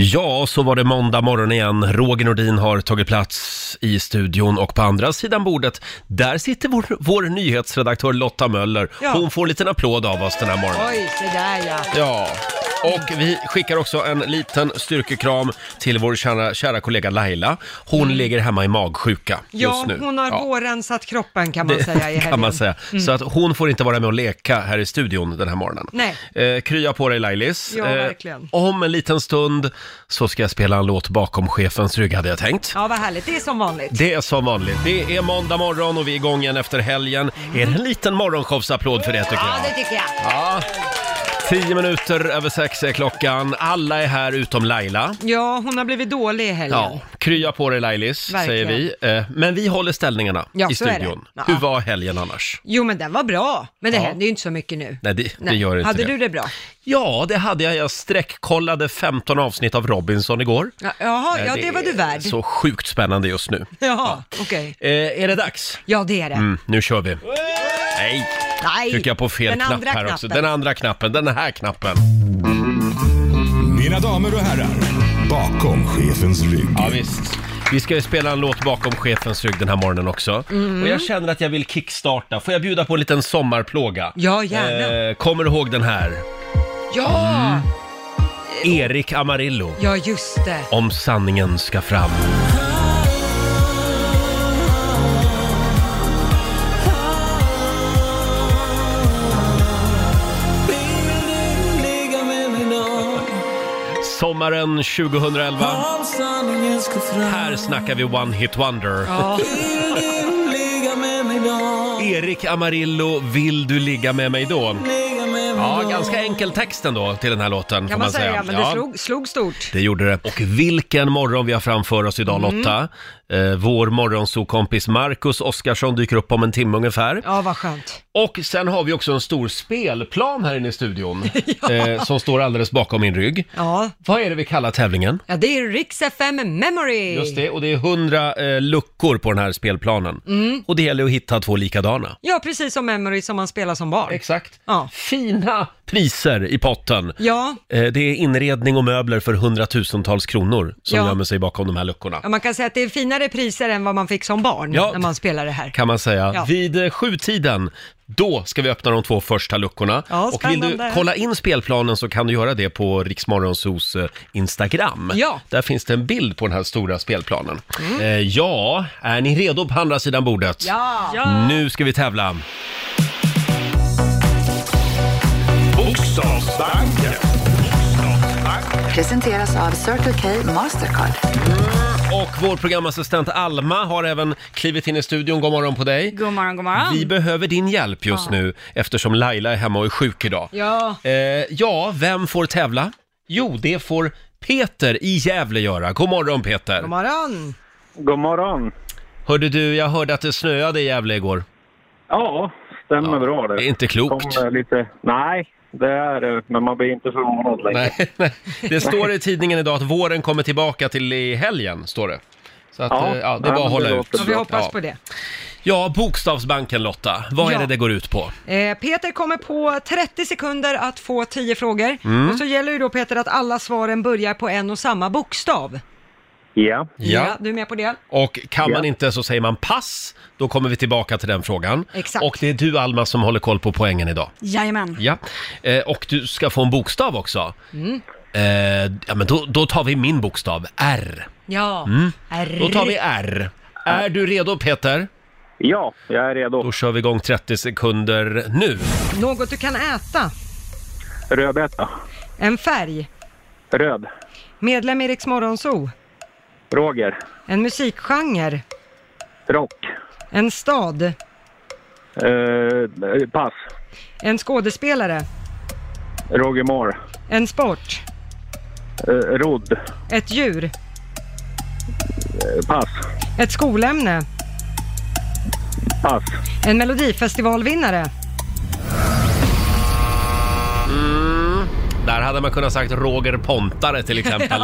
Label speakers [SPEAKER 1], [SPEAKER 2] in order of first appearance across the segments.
[SPEAKER 1] Ja, så var det måndag morgon igen. Roger Nordin har tagit plats i studion och på andra sidan bordet, där sitter vår, vår nyhetsredaktör Lotta Möller.
[SPEAKER 2] Ja.
[SPEAKER 1] Hon får en liten applåd av oss den här morgonen.
[SPEAKER 2] Oj, se där ja.
[SPEAKER 1] Ja, och vi skickar också en liten styrkekram till vår kära, kära kollega Laila. Hon ligger hemma i magsjuka
[SPEAKER 2] Mm. Ja,
[SPEAKER 1] just nu.
[SPEAKER 2] hon har
[SPEAKER 1] Ja.
[SPEAKER 2] vårrensat kroppen kan man
[SPEAKER 1] Det
[SPEAKER 2] säga i helgen. Mm.
[SPEAKER 1] kan man säga. Så att hon får inte vara med och leka här i studion den här morgonen.
[SPEAKER 2] Nej.
[SPEAKER 1] Eh, krya på dig Lailis. Eh,
[SPEAKER 2] Ja, verkligen.
[SPEAKER 1] om en liten stund så ska jag spela en låt bakom chefens rygg hade jag tänkt.
[SPEAKER 2] Ja, vad härligt. Det är som vanligt.
[SPEAKER 1] Det är som vanligt. Det är måndag morgon och vi är igång igen efter helgen. Är det en liten morgonshowsapplåd för det tycker
[SPEAKER 2] Ja,
[SPEAKER 1] jag?
[SPEAKER 2] det tycker jag.
[SPEAKER 1] Ja. Tio minuter över sex är klockan. Alla är här utom Laila.
[SPEAKER 2] Ja, hon har blivit dålig i helgen.
[SPEAKER 1] Ja, krya på dig Lailis,
[SPEAKER 2] Verkligen.
[SPEAKER 1] säger vi. Eh, Men vi håller ställningarna
[SPEAKER 2] Ja,
[SPEAKER 1] i
[SPEAKER 2] så är det.
[SPEAKER 1] studion.
[SPEAKER 2] Ja.
[SPEAKER 1] Hur var helgen annars?
[SPEAKER 2] Jo, men den var bra. Men det
[SPEAKER 1] Ja.
[SPEAKER 2] händer ju inte så mycket nu.
[SPEAKER 1] Nej, det, det gör inte
[SPEAKER 2] Hade
[SPEAKER 1] det.
[SPEAKER 2] du det bra?
[SPEAKER 1] Ja, det hade jag. Jag sträckkollade 15 avsnitt av Robinson igår.
[SPEAKER 2] Ja, jaha, ja,
[SPEAKER 1] Eh,
[SPEAKER 2] det var du värd.
[SPEAKER 1] är Så sjukt spännande just nu.
[SPEAKER 2] Jaha, okej.
[SPEAKER 1] Eh, är det dags?
[SPEAKER 2] Ja, det är det.
[SPEAKER 1] Mm, nu kör vi. Nej,
[SPEAKER 2] Nej,
[SPEAKER 1] trycker jag på fel
[SPEAKER 2] den
[SPEAKER 1] knapp
[SPEAKER 2] andra
[SPEAKER 1] här
[SPEAKER 2] knappen.
[SPEAKER 1] också. Den andra knappen, den här knappen.
[SPEAKER 3] Mina damer och herrar, bakom chefens rygg.
[SPEAKER 1] Ja, visst. Vi ska ju spela en låt bakom chefens rygg den här morgonen också.
[SPEAKER 2] Mm.
[SPEAKER 1] Och jag känner att jag vill kickstarta. Får jag bjuda på en liten sommarplåga?
[SPEAKER 2] Ja, gärna.
[SPEAKER 1] Eh, kommer du ihåg den här?
[SPEAKER 2] Ja!
[SPEAKER 1] Mm. Erik Amarillo.
[SPEAKER 2] Ja, just det.
[SPEAKER 1] Om sanningen ska fram. Sommaren 2011. Här snackar vi One Hit Wonder.
[SPEAKER 2] Ja,
[SPEAKER 1] Erik Amarillo, vill du ligga med mig då? Ja, ganska enkel text ändå till den här låten får
[SPEAKER 2] kan man säga. Men det
[SPEAKER 1] Ja.
[SPEAKER 2] slog, slog stort.
[SPEAKER 1] Det gjorde det. Och vilken morgon vi har framför oss idag
[SPEAKER 2] Mm.
[SPEAKER 1] Lotta. Eh, vår morgonsokompis Marcus Oskarsson dyker upp om en timme ungefär.
[SPEAKER 2] Ja, vad skönt.
[SPEAKER 1] Och sen har vi också en stor spelplan här inne i studion. eh, som står alldeles bakom min rygg.
[SPEAKER 2] Ja,
[SPEAKER 1] Vad är det vi kallar tävlingen?
[SPEAKER 2] ja det är Rix FM Memory.
[SPEAKER 1] Just det, och det är 100 eh, luckor på den här spelplanen.
[SPEAKER 2] Mm.
[SPEAKER 1] Och det gäller att hitta två likadana.
[SPEAKER 2] Ja, precis som Memory som man spelar som barn.
[SPEAKER 1] Exakt.
[SPEAKER 2] Ja.
[SPEAKER 1] Fina priser i potten.
[SPEAKER 2] Ja,
[SPEAKER 1] Eh, Det är inredning och möbler för hundratusentals kronor som
[SPEAKER 2] Ja.
[SPEAKER 1] gömmer sig bakom de här luckorna.
[SPEAKER 2] Ja, man kan säga att det är finare priser än vad man fick som barn
[SPEAKER 1] Ja.
[SPEAKER 2] när man spelade det här.
[SPEAKER 1] kan man säga.
[SPEAKER 2] Ja.
[SPEAKER 1] Vid eh, sjutiden, då ska vi öppna de två första luckorna.
[SPEAKER 2] Ja,
[SPEAKER 1] och vill du
[SPEAKER 2] spännande.
[SPEAKER 1] kolla in spelplanen så kan du göra det på Riksmorgonsos eh, Instagram.
[SPEAKER 2] Ja. Mm.
[SPEAKER 1] Där finns det en bild på den här stora spelplanen. Eh, ja, är ni redo på andra sidan bordet?
[SPEAKER 2] Ja!
[SPEAKER 1] Nu ska vi tävla.
[SPEAKER 3] Bokstavsbanken.
[SPEAKER 4] Presenteras av Circle K Mastercard.
[SPEAKER 1] Och vår programassistent Alma har även klivit in i studion. God morgon på dig.
[SPEAKER 5] God morgon, god morgon.
[SPEAKER 1] Vi behöver din hjälp just nu eftersom Laila är hemma och är sjuk idag.
[SPEAKER 2] Ja,
[SPEAKER 1] Eh, ja, vem får tävla? Jo, det får Peter i Gävle göra. God morgon Peter!
[SPEAKER 2] god morgon!
[SPEAKER 6] God morgon.
[SPEAKER 1] Hörde du, jag hörde att det snöade i Gävle igår.
[SPEAKER 6] Ja, stämmer bra det.
[SPEAKER 1] Det är inte klokt.
[SPEAKER 6] Kom, eh, lite... Nej, det är det. Men man blir inte förvånad längre.
[SPEAKER 1] Nej, nej. Det står i tidningen idag att våren kommer tillbaka till i helgen, står det. Så att, eh, ja, ja, det
[SPEAKER 6] nej,
[SPEAKER 1] är bara
[SPEAKER 6] men
[SPEAKER 1] att hålla ut.
[SPEAKER 6] låter
[SPEAKER 2] Ja, vi
[SPEAKER 6] bra.
[SPEAKER 2] hoppas
[SPEAKER 1] Ja.
[SPEAKER 2] på det.
[SPEAKER 1] Ja, Bokstavsbanken Lotta, vad är
[SPEAKER 2] Ja.
[SPEAKER 1] det det går ut på?
[SPEAKER 2] Eh, Peter kommer på 30 sekunder att få 10 frågor.
[SPEAKER 1] Mm.
[SPEAKER 2] Och så gäller ju då Peter att alla svaren börjar på en och samma bokstav.
[SPEAKER 6] Ja.
[SPEAKER 1] Ja.
[SPEAKER 2] du är med på det?
[SPEAKER 1] Och kan man
[SPEAKER 6] Ja.
[SPEAKER 1] inte så säger man pass, då kommer vi tillbaka till den frågan.
[SPEAKER 2] Exakt.
[SPEAKER 1] Och det är du Alma som håller koll på poängen idag.
[SPEAKER 5] Jajamän.
[SPEAKER 1] Ja, eh, och du ska få en bokstav också. Eh, ja, men då, då tar vi min bokstav, R.
[SPEAKER 2] Ja. R.
[SPEAKER 1] Mm. Då tar vi R. Är du redo Peter?
[SPEAKER 6] ja, jag är redo.
[SPEAKER 1] Då kör vi igång 30 sekunder nu.
[SPEAKER 2] Något du kan äta.
[SPEAKER 6] Rödbeta.
[SPEAKER 2] En färg.
[SPEAKER 6] Röd.
[SPEAKER 2] Medlem i Rix Morgonzoo.
[SPEAKER 6] Roger.
[SPEAKER 2] En musikgenre.
[SPEAKER 6] Rock.
[SPEAKER 2] En stad.
[SPEAKER 6] Eh, pass.
[SPEAKER 2] En skådespelare.
[SPEAKER 6] Roger Moore.
[SPEAKER 2] En sport.
[SPEAKER 6] Eh, rodd.
[SPEAKER 2] Ett djur.
[SPEAKER 6] Eh, Pass.
[SPEAKER 2] Ett skolämne.
[SPEAKER 6] Pass.
[SPEAKER 2] En melodifestivalvinnare.
[SPEAKER 1] Där hade man kunnat sagt Roger Pontare till exempel.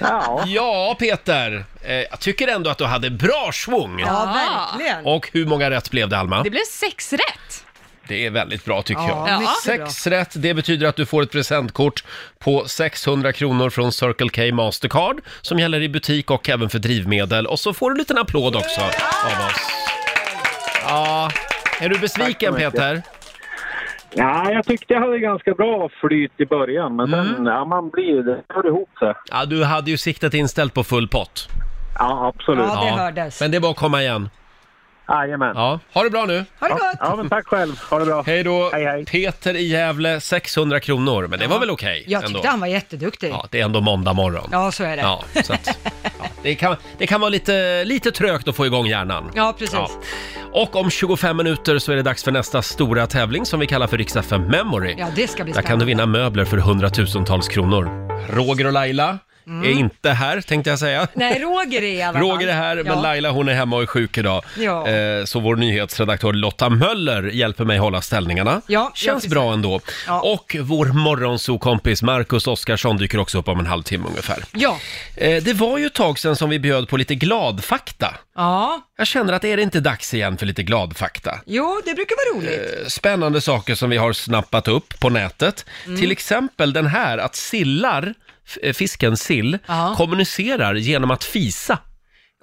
[SPEAKER 6] Ja,
[SPEAKER 1] ja Peter, eh, jag tycker ändå att du hade bra svung.
[SPEAKER 2] Ja,
[SPEAKER 5] Ja.
[SPEAKER 2] verkligen.
[SPEAKER 1] Och hur många rätt blev det Alma?
[SPEAKER 5] Det blev sex rätt.
[SPEAKER 1] Det är väldigt bra tycker
[SPEAKER 2] Ja,
[SPEAKER 1] jag.
[SPEAKER 2] mycket bra.
[SPEAKER 1] Sex rätt, det betyder att du får ett presentkort på 600 kronor från Circle K Mastercard som gäller i butik och även för drivmedel. Och så får du en liten applåd också av oss. Ja, är du besviken
[SPEAKER 6] Tack så mycket.
[SPEAKER 1] Peter?
[SPEAKER 6] Ja, jag tyckte jag hade ganska bra flyt i början, men
[SPEAKER 1] Mm.
[SPEAKER 6] sen, ja, man blir, det hör ihop sig.
[SPEAKER 1] Ja, du hade ju siktet inställt på full pott.
[SPEAKER 6] Ja, absolut.
[SPEAKER 2] Ja, det
[SPEAKER 1] Ja,
[SPEAKER 2] hördes.
[SPEAKER 1] Men det är bara att komma igen.
[SPEAKER 6] Jajamän.
[SPEAKER 1] Ja, ha det bra nu.
[SPEAKER 2] Ha det gott!
[SPEAKER 6] Ja, men tack själv. Ha det bra.
[SPEAKER 1] Hej då.
[SPEAKER 6] Hej, hej.
[SPEAKER 1] Peter i Gävle, 600 kronor. Men det var väl okej?
[SPEAKER 2] Jag tyckte
[SPEAKER 1] ändå.
[SPEAKER 2] han var jätteduktig.
[SPEAKER 1] Ja, det är ändå måndag morgon.
[SPEAKER 2] Ja, så är det.
[SPEAKER 1] Ja, så att, ja, det, kan, det kan vara lite, lite trögt att få igång hjärnan.
[SPEAKER 2] Ja, precis.
[SPEAKER 1] Och om 25 minuter så är det dags för nästa stora tävling som vi kallar för Rix FM Memory.
[SPEAKER 2] Ja, det ska bli
[SPEAKER 1] Där kan du
[SPEAKER 2] spännande.
[SPEAKER 1] vinna möbler för hundratusentals kronor. Roger och Laila är inte här tänkte jag säga.
[SPEAKER 2] Mm. Nej, Roger är i alla fall.
[SPEAKER 1] Roger är här, men
[SPEAKER 2] Ja.
[SPEAKER 1] Laila hon är hemma och är sjuk idag.
[SPEAKER 2] Ja.
[SPEAKER 1] Eh, Så vår nyhetsredaktör Lotta Möller hjälper mig hålla ställningarna.
[SPEAKER 2] Ja, ja,
[SPEAKER 1] Känns
[SPEAKER 2] precis.
[SPEAKER 1] bra ändå.
[SPEAKER 2] Ja.
[SPEAKER 1] Och vår morgonsokompis Marcus Oskarsson dyker också upp om en halvtimme ungefär.
[SPEAKER 2] Ja.
[SPEAKER 1] Eh, Det var ju ett tag sedan som vi bjöd på lite gladfakta.
[SPEAKER 2] ja,
[SPEAKER 1] Jag känner att är det inte dags igen för lite gladfakta?
[SPEAKER 2] jo, det brukar vara roligt.
[SPEAKER 1] Eh, Spännande saker som vi har snappat upp på nätet.
[SPEAKER 2] Mm.
[SPEAKER 1] Till exempel den här att sillar, f- eh, fisken sill,
[SPEAKER 2] Ja.
[SPEAKER 1] kommunicerar genom att fisa.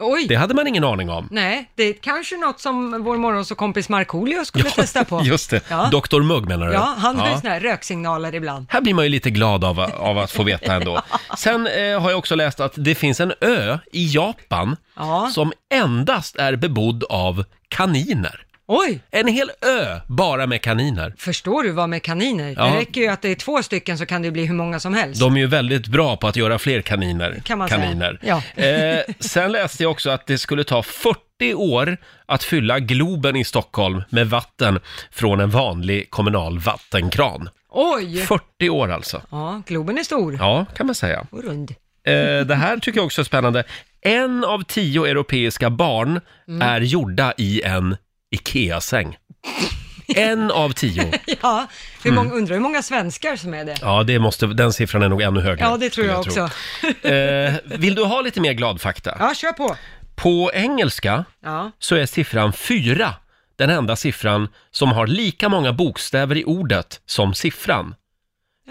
[SPEAKER 2] Oj!
[SPEAKER 1] Eh, Det hade man ingen aning om.
[SPEAKER 2] Nej, det är kanske något som vår morgonsåkompis Markoolio skulle testa på.
[SPEAKER 1] Just det,
[SPEAKER 2] Ja.
[SPEAKER 1] Dr Mugg menar du?
[SPEAKER 2] Ja, han har ju såna här röksignaler ibland.
[SPEAKER 1] Här blir man ju lite glad av, av att få veta ändå. Sen eh, har jag också läst att det finns en ö i Japan
[SPEAKER 2] Ja.
[SPEAKER 1] som endast är bebodd av kaniner.
[SPEAKER 2] Oj!
[SPEAKER 1] En hel ö bara med kaniner.
[SPEAKER 2] Förstår du vad med kaniner?
[SPEAKER 1] Ja.
[SPEAKER 2] Det räcker ju att det är två stycken så kan det ju bli hur många som helst.
[SPEAKER 1] De är ju väldigt bra på att göra fler kaniner.
[SPEAKER 2] Kan man säga.
[SPEAKER 1] kaniner.
[SPEAKER 2] Ja.
[SPEAKER 1] Eh, sen läste jag också att det skulle ta 40 år att fylla Globen i Stockholm med vatten från en vanlig kommunal vattenkran.
[SPEAKER 2] Oj!
[SPEAKER 1] 40 år alltså.
[SPEAKER 2] Ja, Globen är stor
[SPEAKER 1] Ja, kan man säga.
[SPEAKER 2] och rund.
[SPEAKER 1] Eh, det här tycker jag också är spännande. En av tio europeiska barn
[SPEAKER 2] Mm.
[SPEAKER 1] är gjorda i en IKEA-säng. En av tio.
[SPEAKER 2] Ja, hur
[SPEAKER 1] Mm.
[SPEAKER 2] många, undrar hur många svenskar som är det?
[SPEAKER 1] Ja, det måste, den siffran är nog ännu högre.
[SPEAKER 2] Ja, det tror
[SPEAKER 1] skulle
[SPEAKER 2] jag också.
[SPEAKER 1] tro. Eh, vill du ha lite mer glad fakta?
[SPEAKER 2] Ja, kör på!
[SPEAKER 1] På engelska
[SPEAKER 2] Ja,
[SPEAKER 1] så är siffran fyra den enda siffran som har lika många bokstäver i ordet som siffran.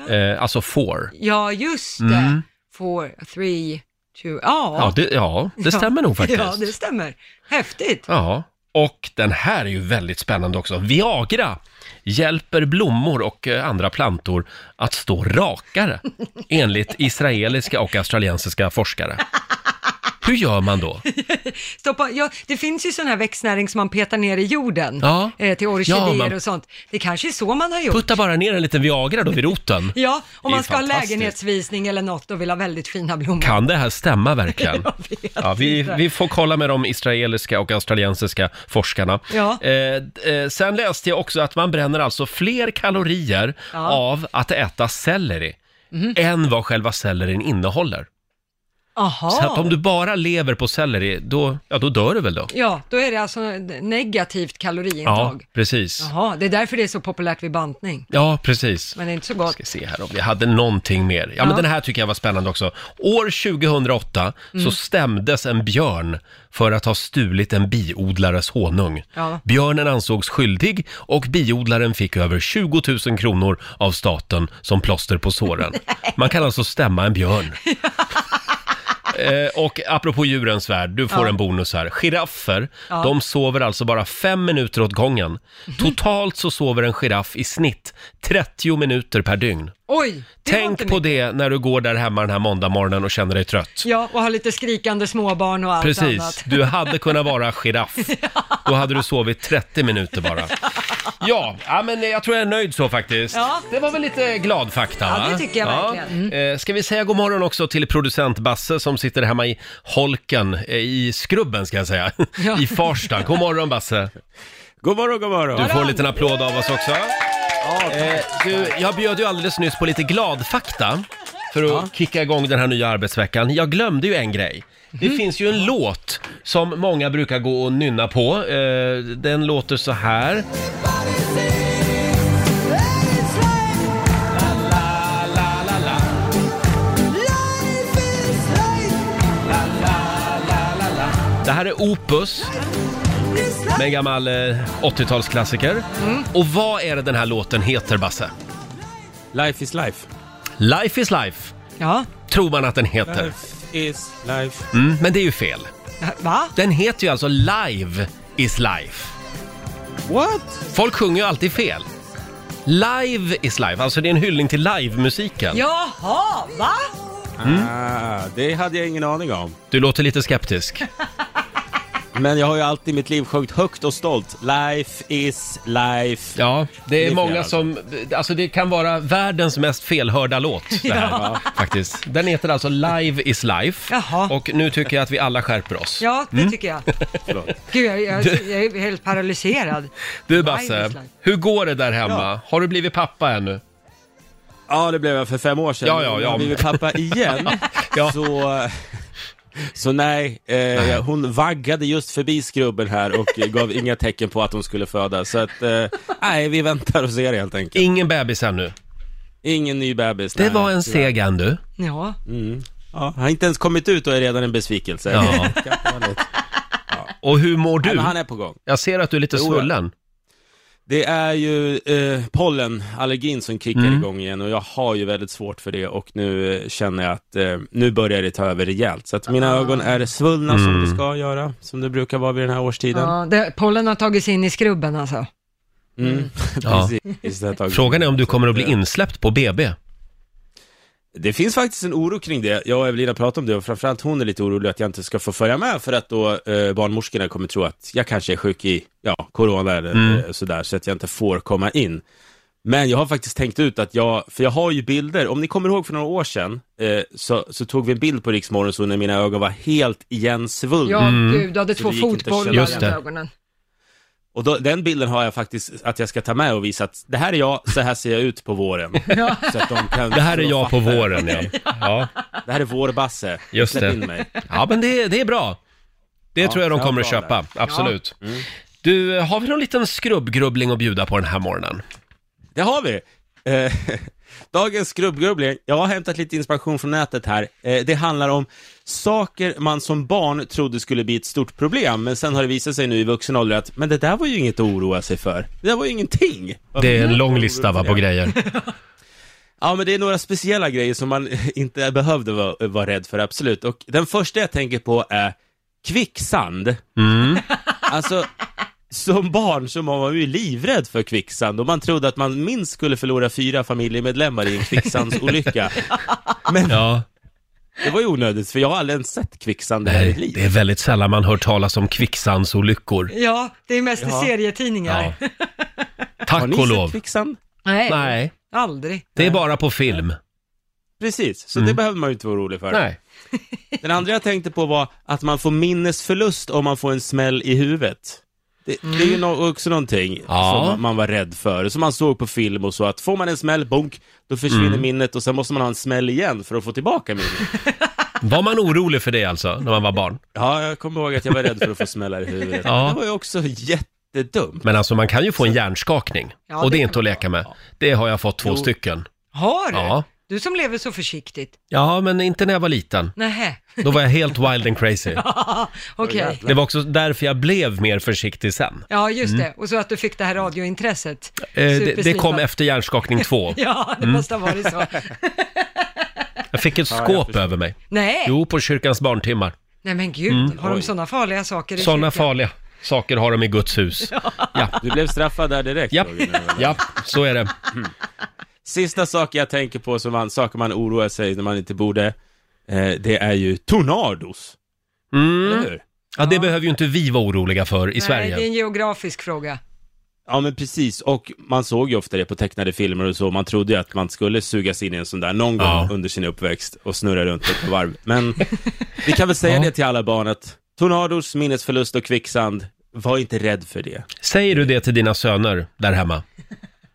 [SPEAKER 1] Eh, alltså four.
[SPEAKER 2] ja just det. Four, three, two, ja.
[SPEAKER 1] Mm. Ja, det, ja, det stämmer nog faktiskt.
[SPEAKER 2] Ja, det stämmer. Häftigt!
[SPEAKER 1] Ja, och den här är ju väldigt spännande också. Viagra hjälper blommor och eh, andra plantor att stå rakare, enligt israeliska och australiensiska forskare. Hur gör man då?
[SPEAKER 2] Stoppa, ja, det finns ju sån här växtnäring som man petar ner i jorden,
[SPEAKER 1] Ja.
[SPEAKER 2] eh, till orkidéer
[SPEAKER 1] Ja, man-
[SPEAKER 2] och sånt. Det kanske är så man har gjort.
[SPEAKER 1] Putta bara ner en liten Viagra då vid roten.
[SPEAKER 2] Ja, om
[SPEAKER 1] Det är
[SPEAKER 2] man ska ha
[SPEAKER 1] fantastiskt.
[SPEAKER 2] lägenhetsvisning eller något och vill ha väldigt fina blommor.
[SPEAKER 1] Kan det här stämma verkligen?
[SPEAKER 2] Jag vet
[SPEAKER 1] Ja, vi,
[SPEAKER 2] inte.
[SPEAKER 1] vi får kolla med de israeliska och australiensiska forskarna.
[SPEAKER 2] Ja.
[SPEAKER 1] Eh, d- eh, sen läste jag också att man bränner alltså fler kalorier
[SPEAKER 2] Ja. Mhm.
[SPEAKER 1] av att äta selleri än vad själva sellerin innehåller.
[SPEAKER 2] Aha.
[SPEAKER 1] Så att om du bara lever på selleri, då, ja, då dör du väl då?
[SPEAKER 2] Ja, då är det alltså negativt kaloriintag.
[SPEAKER 1] precis.
[SPEAKER 2] Jaha, det är därför det är så populärt vid bantning.
[SPEAKER 1] Ja, precis.
[SPEAKER 2] Men det är inte så gott.
[SPEAKER 1] ska se här om vi hade någonting mer. Ja, men
[SPEAKER 2] Ja.
[SPEAKER 1] den här tycker jag var spännande också. År 2008 så stämdes en björn för att ha stulit en biodlares honung.
[SPEAKER 2] Ja.
[SPEAKER 1] Björnen ansågs skyldig och biodlaren fick över 20 000 kronor av staten som plåster på såren. Man kan alltså stämma en björn. Eh, Och apropå djurens värld, du får en bonus här. Giraffer, de sover alltså bara fem minuter åt gången.
[SPEAKER 2] Mhm.
[SPEAKER 1] Totalt så sover en giraff i snitt 30 minuter per dygn.
[SPEAKER 2] Oj! Det var inte
[SPEAKER 1] Tänk på
[SPEAKER 2] mycket.
[SPEAKER 1] det när du går där hemma den här måndagmorgonen och känner dig trött.
[SPEAKER 2] Ja, och ha lite skrikande småbarn och allt
[SPEAKER 1] Precis,
[SPEAKER 2] annat.
[SPEAKER 1] du hade kunnat vara giraff. Då hade du sovit 30 minuter bara. Ja, ja men jag tror jag är nöjd så faktiskt.
[SPEAKER 2] Ja.
[SPEAKER 1] Det var väl lite glad fakta
[SPEAKER 2] Ja,
[SPEAKER 1] va?
[SPEAKER 2] det tycker jag verkligen. Mm.
[SPEAKER 1] Eh, Ska vi säga god morgon också till producent Basse som sitter hemma i holken, eh, i skrubben ska jag säga, i Farsta. God morgon Basse!
[SPEAKER 5] God morgon, god morgon.
[SPEAKER 1] Du får en liten applåd av oss också. Eh, du, jag bjöd ju alldeles nyss på lite glad fakta för att kicka igång den här nya arbetsveckan. Jag glömde ju en grej. Det
[SPEAKER 5] Mhm.
[SPEAKER 1] finns ju en låt som många brukar gå och nynna på. Eh, den låter så här. Det här är Opus med en gammal eh, 80-talsklassiker.
[SPEAKER 5] Mm.
[SPEAKER 1] Och vad är det den här låten heter, Basse?
[SPEAKER 5] Life is life.
[SPEAKER 1] Life is life,
[SPEAKER 2] Ja,
[SPEAKER 1] tror man att den heter.
[SPEAKER 5] is life.
[SPEAKER 1] Mm, men det är ju fel.
[SPEAKER 2] va?
[SPEAKER 1] Den heter ju alltså Live is life. Mm.
[SPEAKER 5] What?
[SPEAKER 1] Folk sjunger ju alltid fel. Live is life, alltså det är en hyllning till livemusiken.
[SPEAKER 2] Jaha, va?
[SPEAKER 1] Mm.
[SPEAKER 5] Ah, det hade jag ingen aning om.
[SPEAKER 1] Du låter lite skeptisk.
[SPEAKER 5] Men jag har ju alltid i mitt liv sjungit högt och stolt. Life is life.
[SPEAKER 1] Ja, det är
[SPEAKER 5] fel
[SPEAKER 1] många
[SPEAKER 5] alltså.
[SPEAKER 1] som... Alltså det kan vara världens mest felhörda låt, det här, faktiskt. Den heter alltså Live is life.
[SPEAKER 2] Jaha.
[SPEAKER 1] Och nu tycker jag att vi alla skärper oss.
[SPEAKER 2] Ja, det tycker jag.
[SPEAKER 5] Förlåt.
[SPEAKER 2] Gud, jag, jag, jag är helt paralyserad.
[SPEAKER 1] Du
[SPEAKER 2] Live
[SPEAKER 1] Basse,
[SPEAKER 2] is life.
[SPEAKER 1] hur går det där hemma? Har du blivit pappa ännu?
[SPEAKER 5] Ja, det blev jag för fem år sedan.
[SPEAKER 1] Ja, ja,
[SPEAKER 5] Nu
[SPEAKER 1] ja.
[SPEAKER 5] har Jag blivit pappa igen.
[SPEAKER 1] Ja.
[SPEAKER 5] Så, eh, så nej, eh, hon vaggade just förbi skrubben här och gav inga tecken på att hon skulle föda. Så att, eh, nej, vi väntar och ser helt enkelt.
[SPEAKER 1] Ingen bebis ännu.
[SPEAKER 5] Ingen ny bebis.
[SPEAKER 1] Det
[SPEAKER 5] nej.
[SPEAKER 1] var en seg än du.
[SPEAKER 2] Ja,
[SPEAKER 5] Ja, har inte ens kommit ut och är redan en besvikelse.
[SPEAKER 1] Ja.
[SPEAKER 5] Det kan vara lite.
[SPEAKER 1] Och hur mår
[SPEAKER 5] Nej,
[SPEAKER 1] du?
[SPEAKER 5] men han är på gång.
[SPEAKER 1] Jag ser att du är lite
[SPEAKER 5] Jo, ja.
[SPEAKER 1] svullen.
[SPEAKER 5] Det är ju eh, pollenallergin som kickar igång igen och jag har ju väldigt svårt för det och nu eh, känner jag att eh, nu börjar det ta över rejält. Så att mina ögon är svullna som
[SPEAKER 1] Mm.
[SPEAKER 5] det ska göra, som det brukar vara vid den här årstiden.
[SPEAKER 2] ja det, pollen har tagit sig in i skrubben alltså.
[SPEAKER 5] Mm.
[SPEAKER 1] Ja.
[SPEAKER 5] Precis, det har tagit-
[SPEAKER 1] Frågan är om du kommer att bli insläppt på BB.
[SPEAKER 5] Det finns faktiskt en oro kring det. Jag och Evelina pratade om det och framförallt hon är lite orolig att jag inte ska få följa med för att då eh, barnmorskorna kommer tro att jag kanske är sjuk i ja, corona eller
[SPEAKER 1] Mm.
[SPEAKER 5] eh, sådär så att jag inte får komma in. Men jag har faktiskt tänkt ut att jag, för jag har ju bilder, om ni kommer ihåg för några år sedan eh, så, så tog vi en bild på Riksmorgon så när mina ögon var helt Mm. igensvullna.
[SPEAKER 2] Ja, gud, du hade
[SPEAKER 5] Så
[SPEAKER 2] två
[SPEAKER 5] det gick inte att
[SPEAKER 2] fotbollar
[SPEAKER 5] känna.
[SPEAKER 1] Just
[SPEAKER 2] i
[SPEAKER 1] det.
[SPEAKER 2] ögonen.
[SPEAKER 5] Och då, den bilden har jag faktiskt att jag ska ta med och visa att det här är jag, så här ser jag ut på våren. Så att de kan,
[SPEAKER 1] Det här är
[SPEAKER 5] så de
[SPEAKER 1] jag på
[SPEAKER 5] fattar.
[SPEAKER 1] våren, ja. ja.
[SPEAKER 5] Det här är vår Basse.
[SPEAKER 1] Just
[SPEAKER 5] Släpp
[SPEAKER 1] det.
[SPEAKER 5] in mig.
[SPEAKER 1] Ja, men det, det är bra. Det tror jag de
[SPEAKER 5] det var
[SPEAKER 1] kommer att
[SPEAKER 5] bra Mm.
[SPEAKER 1] köpa, absolut. Du, har vi någon liten skrubbgrubbling att bjuda på den här morgonen?
[SPEAKER 5] Det har vi! Eh, dagens skrubbgrubbling, jag har hämtat lite inspiration från nätet här. Eh, det handlar om saker man som barn trodde skulle bli ett stort problem, men sen har det visat sig nu i vuxen ålder att, men det där var ju inget att oroa sig för. Det där var ju ingenting.
[SPEAKER 1] Det är
[SPEAKER 5] Varför
[SPEAKER 1] en lång
[SPEAKER 5] oroa
[SPEAKER 1] lista
[SPEAKER 5] sig
[SPEAKER 1] va,
[SPEAKER 5] för
[SPEAKER 1] på
[SPEAKER 5] det?
[SPEAKER 1] grejer.
[SPEAKER 5] Ja, men det är några speciella grejer som man inte behövde vara, vara rädd för, absolut. Och den första jag tänker på är kvicksand.
[SPEAKER 1] Mm.
[SPEAKER 5] Alltså, som barn så var man ju livrädd för kvicksand och man trodde att man minst skulle förlora fyra familjemedlemmar i en kvicksandsolycka.
[SPEAKER 1] Ja,
[SPEAKER 5] Det var ju onödigt, för jag har aldrig ens sett kvicksand i hela mitt
[SPEAKER 1] nej, det
[SPEAKER 5] liv.
[SPEAKER 1] är väldigt sällan man hör talas om kvicksandsolyckor.
[SPEAKER 2] Ja, det är mest i
[SPEAKER 5] Ja.
[SPEAKER 2] serietidningar.
[SPEAKER 1] Ja.
[SPEAKER 5] Har
[SPEAKER 1] Tack
[SPEAKER 5] ni
[SPEAKER 1] och
[SPEAKER 5] sett
[SPEAKER 1] lov.
[SPEAKER 5] kvicksand?
[SPEAKER 2] Nej,
[SPEAKER 1] Nej,
[SPEAKER 2] aldrig.
[SPEAKER 1] det är bara på film.
[SPEAKER 5] Precis, så det behöver man ju inte vara orolig för.
[SPEAKER 1] Mm. Nej.
[SPEAKER 5] Den andra jag tänkte på var att man får minnesförlust om man får en smäll i huvudet. Det, det är ju nå- också någonting
[SPEAKER 1] Ja.
[SPEAKER 5] som man- man var rädd för, som man såg på film och så, att får man en smäll, bonk, då försvinner minnet och sen måste man ha en smäll igen för att få tillbaka minnet.
[SPEAKER 1] Var man orolig för det alltså, när man var barn?
[SPEAKER 5] Ja, jag kommer ihåg att jag var rädd för att få smällar i huvudet.
[SPEAKER 1] Ja.
[SPEAKER 5] Det var ju också jättedumt.
[SPEAKER 1] Men alltså, man kan ju få en hjärnskakning.
[SPEAKER 2] Ja,
[SPEAKER 1] Och det
[SPEAKER 2] det
[SPEAKER 1] är
[SPEAKER 2] kan
[SPEAKER 1] inte att leka med. Det har jag fått två
[SPEAKER 5] Jo.
[SPEAKER 1] stycken.
[SPEAKER 2] Har du?
[SPEAKER 1] Ja.
[SPEAKER 2] Du som lever så försiktigt.
[SPEAKER 1] Ja, men inte när jag var liten.
[SPEAKER 2] Nähä,
[SPEAKER 1] Då var jag helt wild and crazy.
[SPEAKER 2] okej.
[SPEAKER 1] Det var också därför jag blev mer försiktig sen.
[SPEAKER 2] Ja, just det. Och så att du fick det här radiointresset.
[SPEAKER 1] Eh, det, det
[SPEAKER 2] Superslipat.
[SPEAKER 1] kom efter hjärnskakning 2.
[SPEAKER 2] Ja, det måste ha varit så.
[SPEAKER 1] Jag fick ett skåp över mig.
[SPEAKER 2] Nej,
[SPEAKER 1] Jo, på kyrkans barntimmar.
[SPEAKER 2] nej men gud,
[SPEAKER 1] Mm.
[SPEAKER 2] har de sådana farliga saker i
[SPEAKER 1] Sådana
[SPEAKER 2] kyrkan?
[SPEAKER 1] farliga saker har de i Guds hus.
[SPEAKER 5] Du blev straffad där direkt.
[SPEAKER 1] Japp,
[SPEAKER 5] Roger, när du var där.
[SPEAKER 1] japp, så är det.
[SPEAKER 5] Sista saken jag tänker på som man, saker man oroar sig när man inte borde, eh, det är ju tornados.
[SPEAKER 1] Mm.
[SPEAKER 5] Eller hur?
[SPEAKER 1] Ja, det behöver ju inte vi vara oroliga för i
[SPEAKER 2] Nej, det är
[SPEAKER 1] Sverige.
[SPEAKER 2] en geografisk fråga.
[SPEAKER 5] Ja men precis, och man såg ju ofta det på tecknade filmer och så, man trodde ju att man skulle sugas in i en sån där någon gång
[SPEAKER 1] Ja.
[SPEAKER 5] under sin uppväxt och snurra runt ett par varv. Men vi kan väl säga det till alla barn att tornados, minnesförlust och kvicksand, var inte rädd för det.
[SPEAKER 1] Säger du det till dina söner där hemma?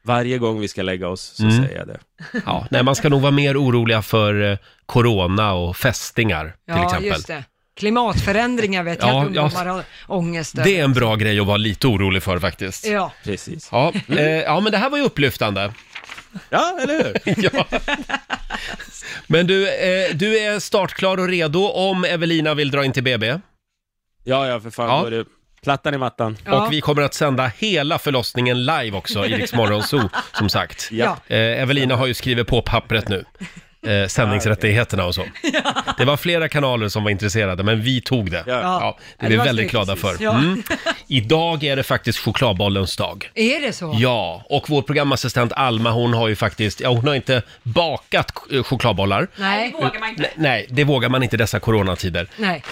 [SPEAKER 5] Varje gång vi ska lägga oss så
[SPEAKER 1] Mm.
[SPEAKER 5] säger jag det.
[SPEAKER 1] Ja, nej, man ska nog vara mer oroliga för eh, corona och fästingar till
[SPEAKER 2] Ja,
[SPEAKER 1] exempel.
[SPEAKER 2] just det. Klimatförändringar vet
[SPEAKER 1] Ja,
[SPEAKER 2] jag att
[SPEAKER 1] ja.
[SPEAKER 2] ungdomar har ångest över.
[SPEAKER 1] Det är en bra grej att vara lite orolig för faktiskt.
[SPEAKER 2] Ja,
[SPEAKER 5] Precis.
[SPEAKER 1] Ja, eh, ja men det här var ju upplyftande.
[SPEAKER 5] Ja, eller hur?
[SPEAKER 1] Ja. Men du, eh, du är startklar och redo om Evelina vill dra in till BB.
[SPEAKER 5] Ja, ja, för fan,
[SPEAKER 1] Ja.
[SPEAKER 5] då är det Plattan i mattan.
[SPEAKER 2] Ja.
[SPEAKER 1] Och vi kommer att sända hela förlossningen live också i Rix Morgon Zoo, som sagt.
[SPEAKER 2] Ja.
[SPEAKER 1] Eh, Evelina har ju skrivit på pappret nu. Eh, sändningsrättigheterna och så. Det var flera kanaler som var intresserade, men vi tog det.
[SPEAKER 5] Ja.
[SPEAKER 1] Ja, det är vi
[SPEAKER 2] Ja, det var
[SPEAKER 1] väldigt
[SPEAKER 2] snyggt.
[SPEAKER 1] glada för.
[SPEAKER 2] Ja.
[SPEAKER 1] Mm. Idag är det faktiskt chokladbollens dag.
[SPEAKER 2] Är det så?
[SPEAKER 1] Ja, och vår programassistent Alma, hon har ju faktiskt, ja hon har inte bakat ch- eh, chokladbollar.
[SPEAKER 2] Nej.
[SPEAKER 1] Nej, Nej, det vågar man inte i dessa coronatider.
[SPEAKER 2] Nej.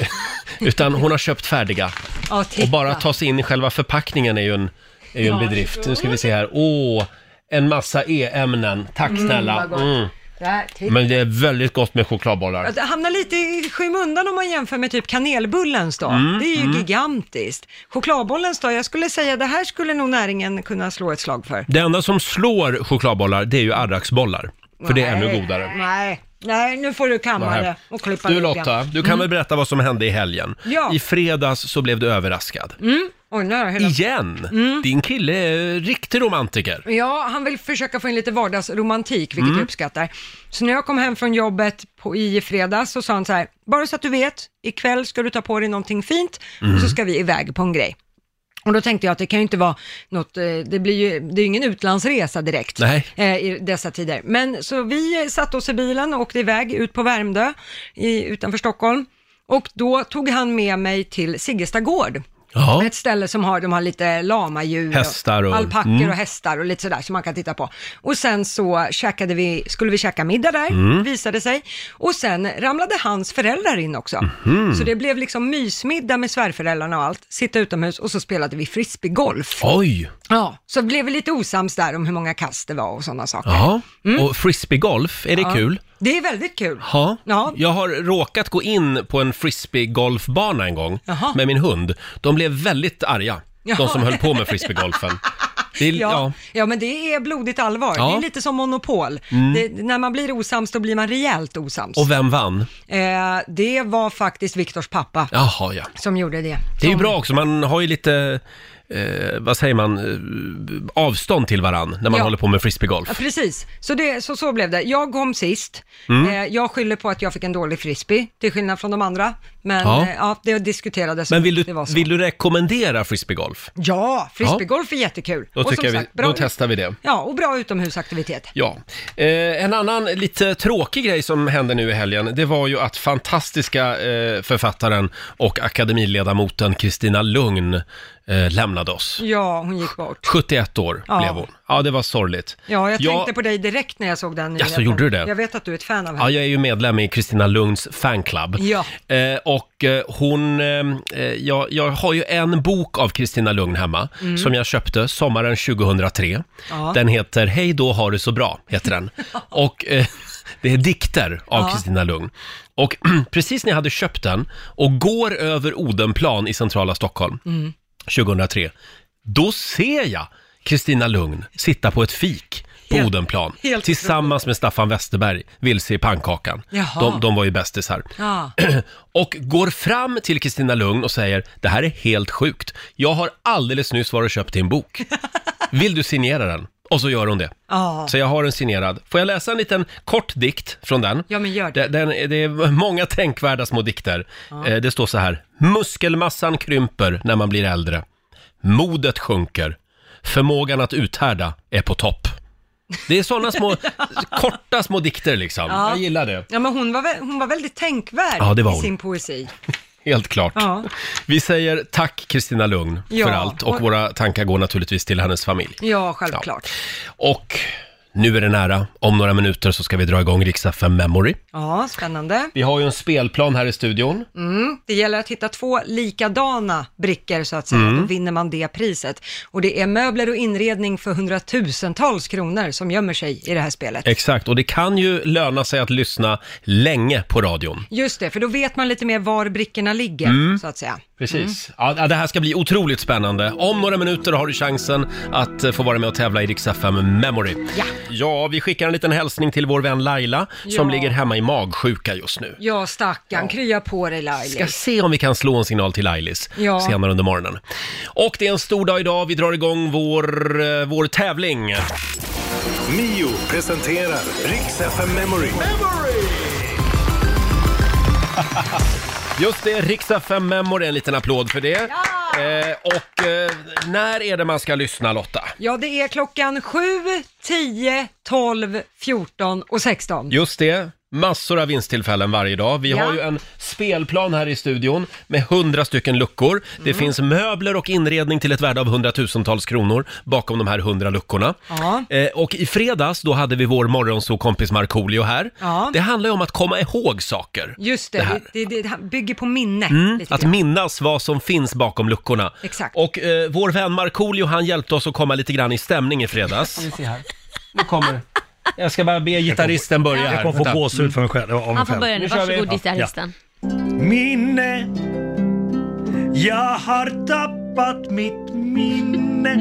[SPEAKER 1] Utan hon har köpt färdiga.
[SPEAKER 2] Ja,
[SPEAKER 1] Och
[SPEAKER 2] titta.
[SPEAKER 1] bara ta sig in i själva förpackningen är ju en, är ju en bedrift. Nu ska vi se här. Åh, en massa e-ämnen. Tack snälla.
[SPEAKER 2] vad gott.
[SPEAKER 1] Mm.
[SPEAKER 2] Där, titta.
[SPEAKER 1] Men det är väldigt gott med chokladbollar.
[SPEAKER 2] Ja, Det hamnar lite i skymundan om man jämför med typ kanelbullens då.
[SPEAKER 1] Mm,
[SPEAKER 2] det är ju gigantiskt. Chokladbollens då, jag skulle säga det här skulle nog näringen kunna slå ett slag för.
[SPEAKER 1] Det enda som slår chokladbollar, det är ju arraksbollar. För det är ännu
[SPEAKER 2] Nej.
[SPEAKER 1] godare.
[SPEAKER 2] Nej, nej nu får du kamma
[SPEAKER 1] Nej.
[SPEAKER 2] det och klippa
[SPEAKER 1] Du
[SPEAKER 2] ihop igen.
[SPEAKER 1] Lotta, du kan väl berätta vad som hände i helgen?
[SPEAKER 2] Mm. Ja. Mm.
[SPEAKER 1] I fredags så blev du överraskad.
[SPEAKER 2] Oj, nu har jag hela...
[SPEAKER 1] Igen!
[SPEAKER 2] Mm.
[SPEAKER 1] Din kille är riktig romantiker.
[SPEAKER 2] Ja, han vill försöka få in lite vardagsromantik, vilket jag uppskattar. Så när jag kom hem från jobbet på, i fredags så sa han så här, bara så att du vet, ikväll ska du ta på dig någonting fint och så ska vi iväg på en grej. Och då tänkte jag att det kan ju inte vara något, eh, det blir ju, det är ju ingen utlandsresa direkt
[SPEAKER 1] Nej.
[SPEAKER 2] eh, i dessa tider. Men så vi eh, satte oss i bilen och åkte iväg ut på Värmdö i, utanför Stockholm. Och då tog han med mig till Siggesta gård.
[SPEAKER 1] Ja.
[SPEAKER 2] Ett ställe som har, de har lite lamadjur,
[SPEAKER 1] Hästar och-
[SPEAKER 2] alpackor
[SPEAKER 1] mm.
[SPEAKER 2] och hästar och lite sådär som man kan titta på. Och sen så käkade vi, skulle vi käka middag där,
[SPEAKER 1] Mm.
[SPEAKER 2] visade sig. Och sen ramlade hans föräldrar in också.
[SPEAKER 1] Mhm.
[SPEAKER 2] Så det blev liksom mysmiddag med svärföräldrarna och allt, sitta utomhus och så spelade vi frisbeegolf.
[SPEAKER 1] Oj!
[SPEAKER 2] Ja, så blev vi lite osams där om hur många kast det var och sådana saker.
[SPEAKER 1] Ja.
[SPEAKER 2] Mm.
[SPEAKER 1] Och frisbeegolf, är det kul?
[SPEAKER 2] Det är väldigt kul.
[SPEAKER 1] Ja.
[SPEAKER 2] Ja.
[SPEAKER 1] jag har råkat gå in på en frisbeegolfbana en gång
[SPEAKER 2] Jaha.
[SPEAKER 1] med min hund. De blev väldigt arga, de
[SPEAKER 2] Jaha.
[SPEAKER 1] som höll på med frisbeegolfen. Det är,
[SPEAKER 2] Ja,
[SPEAKER 1] ja.
[SPEAKER 2] ja. men det är blodigt allvar.
[SPEAKER 1] Ja. Mm.
[SPEAKER 2] Det är lite som monopol. Det, när man blir osams, då blir man rejält osams.
[SPEAKER 1] Och vem vann?
[SPEAKER 2] Eh, det var faktiskt Viktors pappa
[SPEAKER 1] Jaha, ja.
[SPEAKER 2] som gjorde det.
[SPEAKER 1] Det är ju
[SPEAKER 2] Som-
[SPEAKER 1] bra också, man har ju lite, eh, vad säger man, eh, avstånd till varann när man
[SPEAKER 2] Ja.
[SPEAKER 1] håller på med
[SPEAKER 2] Ja,
[SPEAKER 1] frisbeegolf.
[SPEAKER 2] precis, så, det, så så blev det. Jag kom sist.
[SPEAKER 1] Mm.
[SPEAKER 2] Eh, jag skyller på att jag fick en dålig frisbee, till skillnad från de andra. Men
[SPEAKER 1] Ja.
[SPEAKER 2] ja, eh, ja det diskuterades.
[SPEAKER 1] Men vill
[SPEAKER 2] det
[SPEAKER 1] du,
[SPEAKER 2] var så.
[SPEAKER 1] vill du rekommendera frisbeegolf?
[SPEAKER 2] Ja, frisbeegolf är jättekul.
[SPEAKER 1] Då, tycker jag vi, då
[SPEAKER 2] bra,
[SPEAKER 1] testar vi det.
[SPEAKER 2] Ja, och bra utomhusaktivitet.
[SPEAKER 1] Ja. Eh, en annan lite tråkig grej som hände nu i helgen, det var ju att fantastiska eh, författaren och akademiledamoten Kristina Lugn eh, lämnade oss.
[SPEAKER 2] Ja, hon gick bort.
[SPEAKER 1] 71 år
[SPEAKER 2] Ja.
[SPEAKER 1] blev hon. Ja, det var sorgligt.
[SPEAKER 2] Ja, jag tänkte på dig direkt när jag såg den
[SPEAKER 1] Ja, så gjorde du det?
[SPEAKER 2] Jag vet att du är ett fan av henne.
[SPEAKER 1] Ja, jag är ju medlem i Kristina Lugns fanclub.
[SPEAKER 2] Ja.
[SPEAKER 1] Eh, och eh, hon, eh, eh, jag, jag har ju en bok av Kristina Lugn hemma som jag köpte sommaren 2003.
[SPEAKER 2] Mm. Ja.
[SPEAKER 1] Den heter Hej då har du så bra, heter den. och eh, det är dikter av
[SPEAKER 2] Ja.
[SPEAKER 1] Kristina Lugn. Och precis när jag hade köpt den och går över Odenplan i centrala Stockholm
[SPEAKER 2] Mm.
[SPEAKER 1] 2003, då ser jag Kristina Lugn sitta på ett fik på
[SPEAKER 2] Helt-
[SPEAKER 1] Odenplan
[SPEAKER 2] helt
[SPEAKER 1] tillsammans med Staffan Westerberg, Vilse i pannkakan.
[SPEAKER 2] Jaha.
[SPEAKER 1] De, de var ju bästisar.
[SPEAKER 2] Ja.
[SPEAKER 1] Och går fram till Kristina Lugn och säger, det här är helt sjukt. Jag har alldeles nyss varit och köpt din bok. Vill du signera den? Och så gör hon det.
[SPEAKER 2] Ja.
[SPEAKER 1] Så jag har den signerad. Får jag läsa en liten kort dikt från den?
[SPEAKER 2] Ja, men gör det.
[SPEAKER 1] Den, det är många tänkvärda små dikter. Eh, Det står så här. Muskelmassan krymper när man blir äldre. Modet sjunker. Förmågan att uthärda är på topp. Det är sådana små, korta små dikter liksom.
[SPEAKER 2] Ja.
[SPEAKER 1] Jag gillar det.
[SPEAKER 2] Ja, men hon var, vä- hon var väldigt tänkvärd
[SPEAKER 1] Ja, det var
[SPEAKER 2] i
[SPEAKER 1] hon.
[SPEAKER 2] sin poesi.
[SPEAKER 1] Helt klart.
[SPEAKER 2] Ja.
[SPEAKER 1] Vi säger tack Kristina Lugn
[SPEAKER 2] Ja,
[SPEAKER 1] för allt och
[SPEAKER 2] och-
[SPEAKER 1] våra tankar går naturligtvis till hennes familj.
[SPEAKER 2] Ja, självklart.
[SPEAKER 1] Och nu är det nära. Om några minuter så ska vi dra igång Riksa 5 Memory.
[SPEAKER 2] Ja, spännande.
[SPEAKER 1] Vi har ju en spelplan här i studion.
[SPEAKER 2] Mm. Det gäller att hitta två likadana brickor så att säga,
[SPEAKER 1] Mm.
[SPEAKER 2] då vinner man det priset. Och det är möbler och inredning för hundratusentals kronor som gömmer sig i det här spelet.
[SPEAKER 1] Exakt, och det kan ju löna sig att lyssna länge på radion.
[SPEAKER 2] Just det, för då vet man lite mer var brickorna ligger,
[SPEAKER 1] Mm.
[SPEAKER 2] så att säga.
[SPEAKER 1] Precis. Mm. Ja, det här ska bli otroligt spännande. Om några minuter har du chansen att eh, få vara med och tävla i Rix FM Memory.
[SPEAKER 2] Ja.
[SPEAKER 1] ja, vi skickar en liten hälsning till vår vän Laila som
[SPEAKER 2] Ja.
[SPEAKER 1] ligger hemma i magsjuka just nu.
[SPEAKER 2] Ja, stackarn, krya på dig
[SPEAKER 1] ska
[SPEAKER 2] Lailis.
[SPEAKER 1] se om vi kan slå en signal till Lailis
[SPEAKER 2] Ja.
[SPEAKER 1] senare under morgonen. Och det är en stor dag idag. Vi drar igång vår, eh, vår tävling.
[SPEAKER 7] Mio presenterar Riks FM Memory.
[SPEAKER 1] Just det, Riksdag 5 Memory. En liten applåd för det. Eh, och eh, när är det man ska lyssna Lotta?
[SPEAKER 2] Ja, det är klockan 7, 10, 12, 14 och 16.
[SPEAKER 1] Just det, massor av vinsttillfällen varje dag. Vi
[SPEAKER 2] Ja.
[SPEAKER 1] har ju en spelplan här i studion med hundra stycken luckor.
[SPEAKER 2] Mm.
[SPEAKER 1] Det finns möbler och inredning till ett värde av hundratusentals kronor bakom de här hundra luckorna.
[SPEAKER 2] Ja.
[SPEAKER 1] Eh, och i fredags, då hade vi vår morgonsokompis Markoolio här.
[SPEAKER 2] Ja.
[SPEAKER 1] Det handlar ju om att komma ihåg saker.
[SPEAKER 2] Just det,
[SPEAKER 1] Det här. Mm,
[SPEAKER 2] det, det, det, han bygger på minne. lite
[SPEAKER 1] Att
[SPEAKER 2] grann.
[SPEAKER 1] minnas vad som finns bakom luckorna.
[SPEAKER 2] Exakt.
[SPEAKER 1] Och eh, vår vän Markoolio han hjälpte oss att komma lite grann i stämning i fredags. Nu kommer... Jag ska bara be gitarristen börja här.
[SPEAKER 8] Jag kommer
[SPEAKER 1] Vänta.
[SPEAKER 8] få gåshud för mig själv. av mig
[SPEAKER 9] Han får
[SPEAKER 8] själv.
[SPEAKER 9] börja nu.
[SPEAKER 1] Nu kör vi.
[SPEAKER 9] Varsågod, gitarristen.
[SPEAKER 8] Minne Jag har tappat mitt minne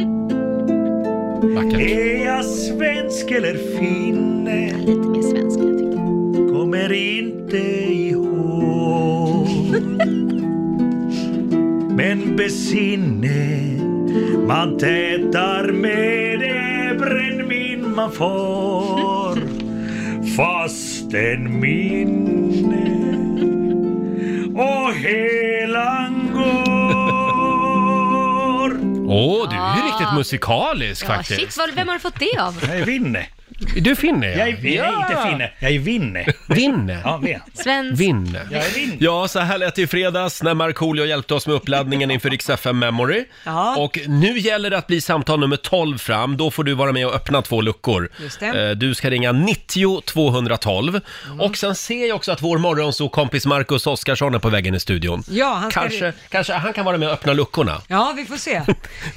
[SPEAKER 1] Vackert.
[SPEAKER 8] Är jag svensk eller finne?
[SPEAKER 9] Lite mer svensk, jag tycker.
[SPEAKER 8] Kommer inte ihåg Men besinne man tätar med det brännvin man får Fast en minne och helan går
[SPEAKER 1] Åh, du
[SPEAKER 2] Ah.
[SPEAKER 1] är ju riktigt musikalisk
[SPEAKER 9] Ja,
[SPEAKER 1] faktiskt.
[SPEAKER 9] shit, vad- vem har du fått det av?
[SPEAKER 8] Jag är vinne.
[SPEAKER 1] Du finner jag.
[SPEAKER 8] Jag är, jag är inte finne, jag är vinne.
[SPEAKER 1] Vinne.
[SPEAKER 8] Ja, vet.
[SPEAKER 9] Svensk.
[SPEAKER 1] Vinne.
[SPEAKER 8] Jag är vinne.
[SPEAKER 1] Ja, så här lät det i fredags när Markoolio hjälpte oss med uppladdningen inför Rix FM Memory.
[SPEAKER 2] Ja.
[SPEAKER 1] Och nu gäller det att bli samtal nummer 12 fram. Då får du vara med och öppna två luckor.
[SPEAKER 2] Just det.
[SPEAKER 1] Eh,
[SPEAKER 2] Mm.
[SPEAKER 1] Du ska ringa 90 212. Och sen ser jag också att vår morgonsåkompis Marcus Oskarsson är på vägen i studion.
[SPEAKER 2] Ja, han ska-
[SPEAKER 1] kanske, kanske han kan vara med och öppna luckorna.
[SPEAKER 2] Ja, vi får se.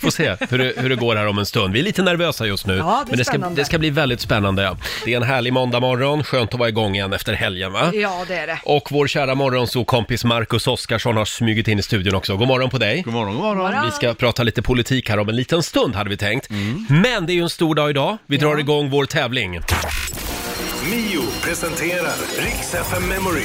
[SPEAKER 1] Får se hur det, hur det går här om en stund. Vi är lite nervösa just nu.
[SPEAKER 2] Ja, det är
[SPEAKER 1] men det ska,
[SPEAKER 2] spännande.
[SPEAKER 1] det ska bli väldigt spännande. Ja. Det är en härlig måndagmorgon. Skönt att vara igång igen efter helgen va?
[SPEAKER 2] Ja, det är det.
[SPEAKER 1] Och vår kära morgonsokompis Marcus Oskarsson har smugit in i studion också. God morgon på dig.
[SPEAKER 10] God morgon, god morgon. Mm.
[SPEAKER 1] Vi ska prata lite politik här om en liten stund hade vi tänkt. Men det är ju en stor dag idag. Vi drar igång vår tävling.
[SPEAKER 7] Mio presenterar Riks FM Memory.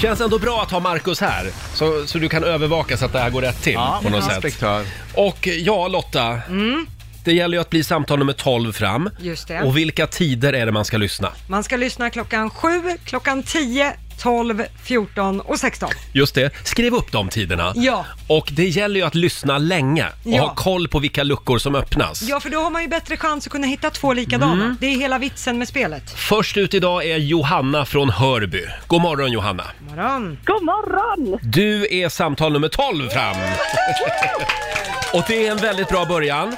[SPEAKER 1] Känns ändå bra att ha Marcus här. Så, så du kan övervaka så att det här går rätt till
[SPEAKER 10] Ja,
[SPEAKER 1] på något sätt.
[SPEAKER 10] inspektör.
[SPEAKER 1] Och ja, Lotta. Det gäller ju att bli samtal nummer 12 fram.
[SPEAKER 2] Mm. Just det.
[SPEAKER 1] Och vilka tider är det man ska lyssna?
[SPEAKER 2] Man ska lyssna klockan 7, klockan 10, 12, 14 och 16.
[SPEAKER 1] Just det, skriv upp de tiderna.
[SPEAKER 2] Ja.
[SPEAKER 1] Och det gäller ju att lyssna länge och
[SPEAKER 2] Ja.
[SPEAKER 1] ha koll på vilka luckor som öppnas.
[SPEAKER 2] Ja, för då har man ju bättre chans att kunna hitta två likadana.
[SPEAKER 1] Mm.
[SPEAKER 2] Det är hela vitsen med spelet.
[SPEAKER 1] Först ut idag är Johanna från Hörby. God morgon Johanna.
[SPEAKER 2] Morgon.
[SPEAKER 11] God morgon!
[SPEAKER 1] Du är samtal nummer 12 fram. Och det är en väldigt bra början.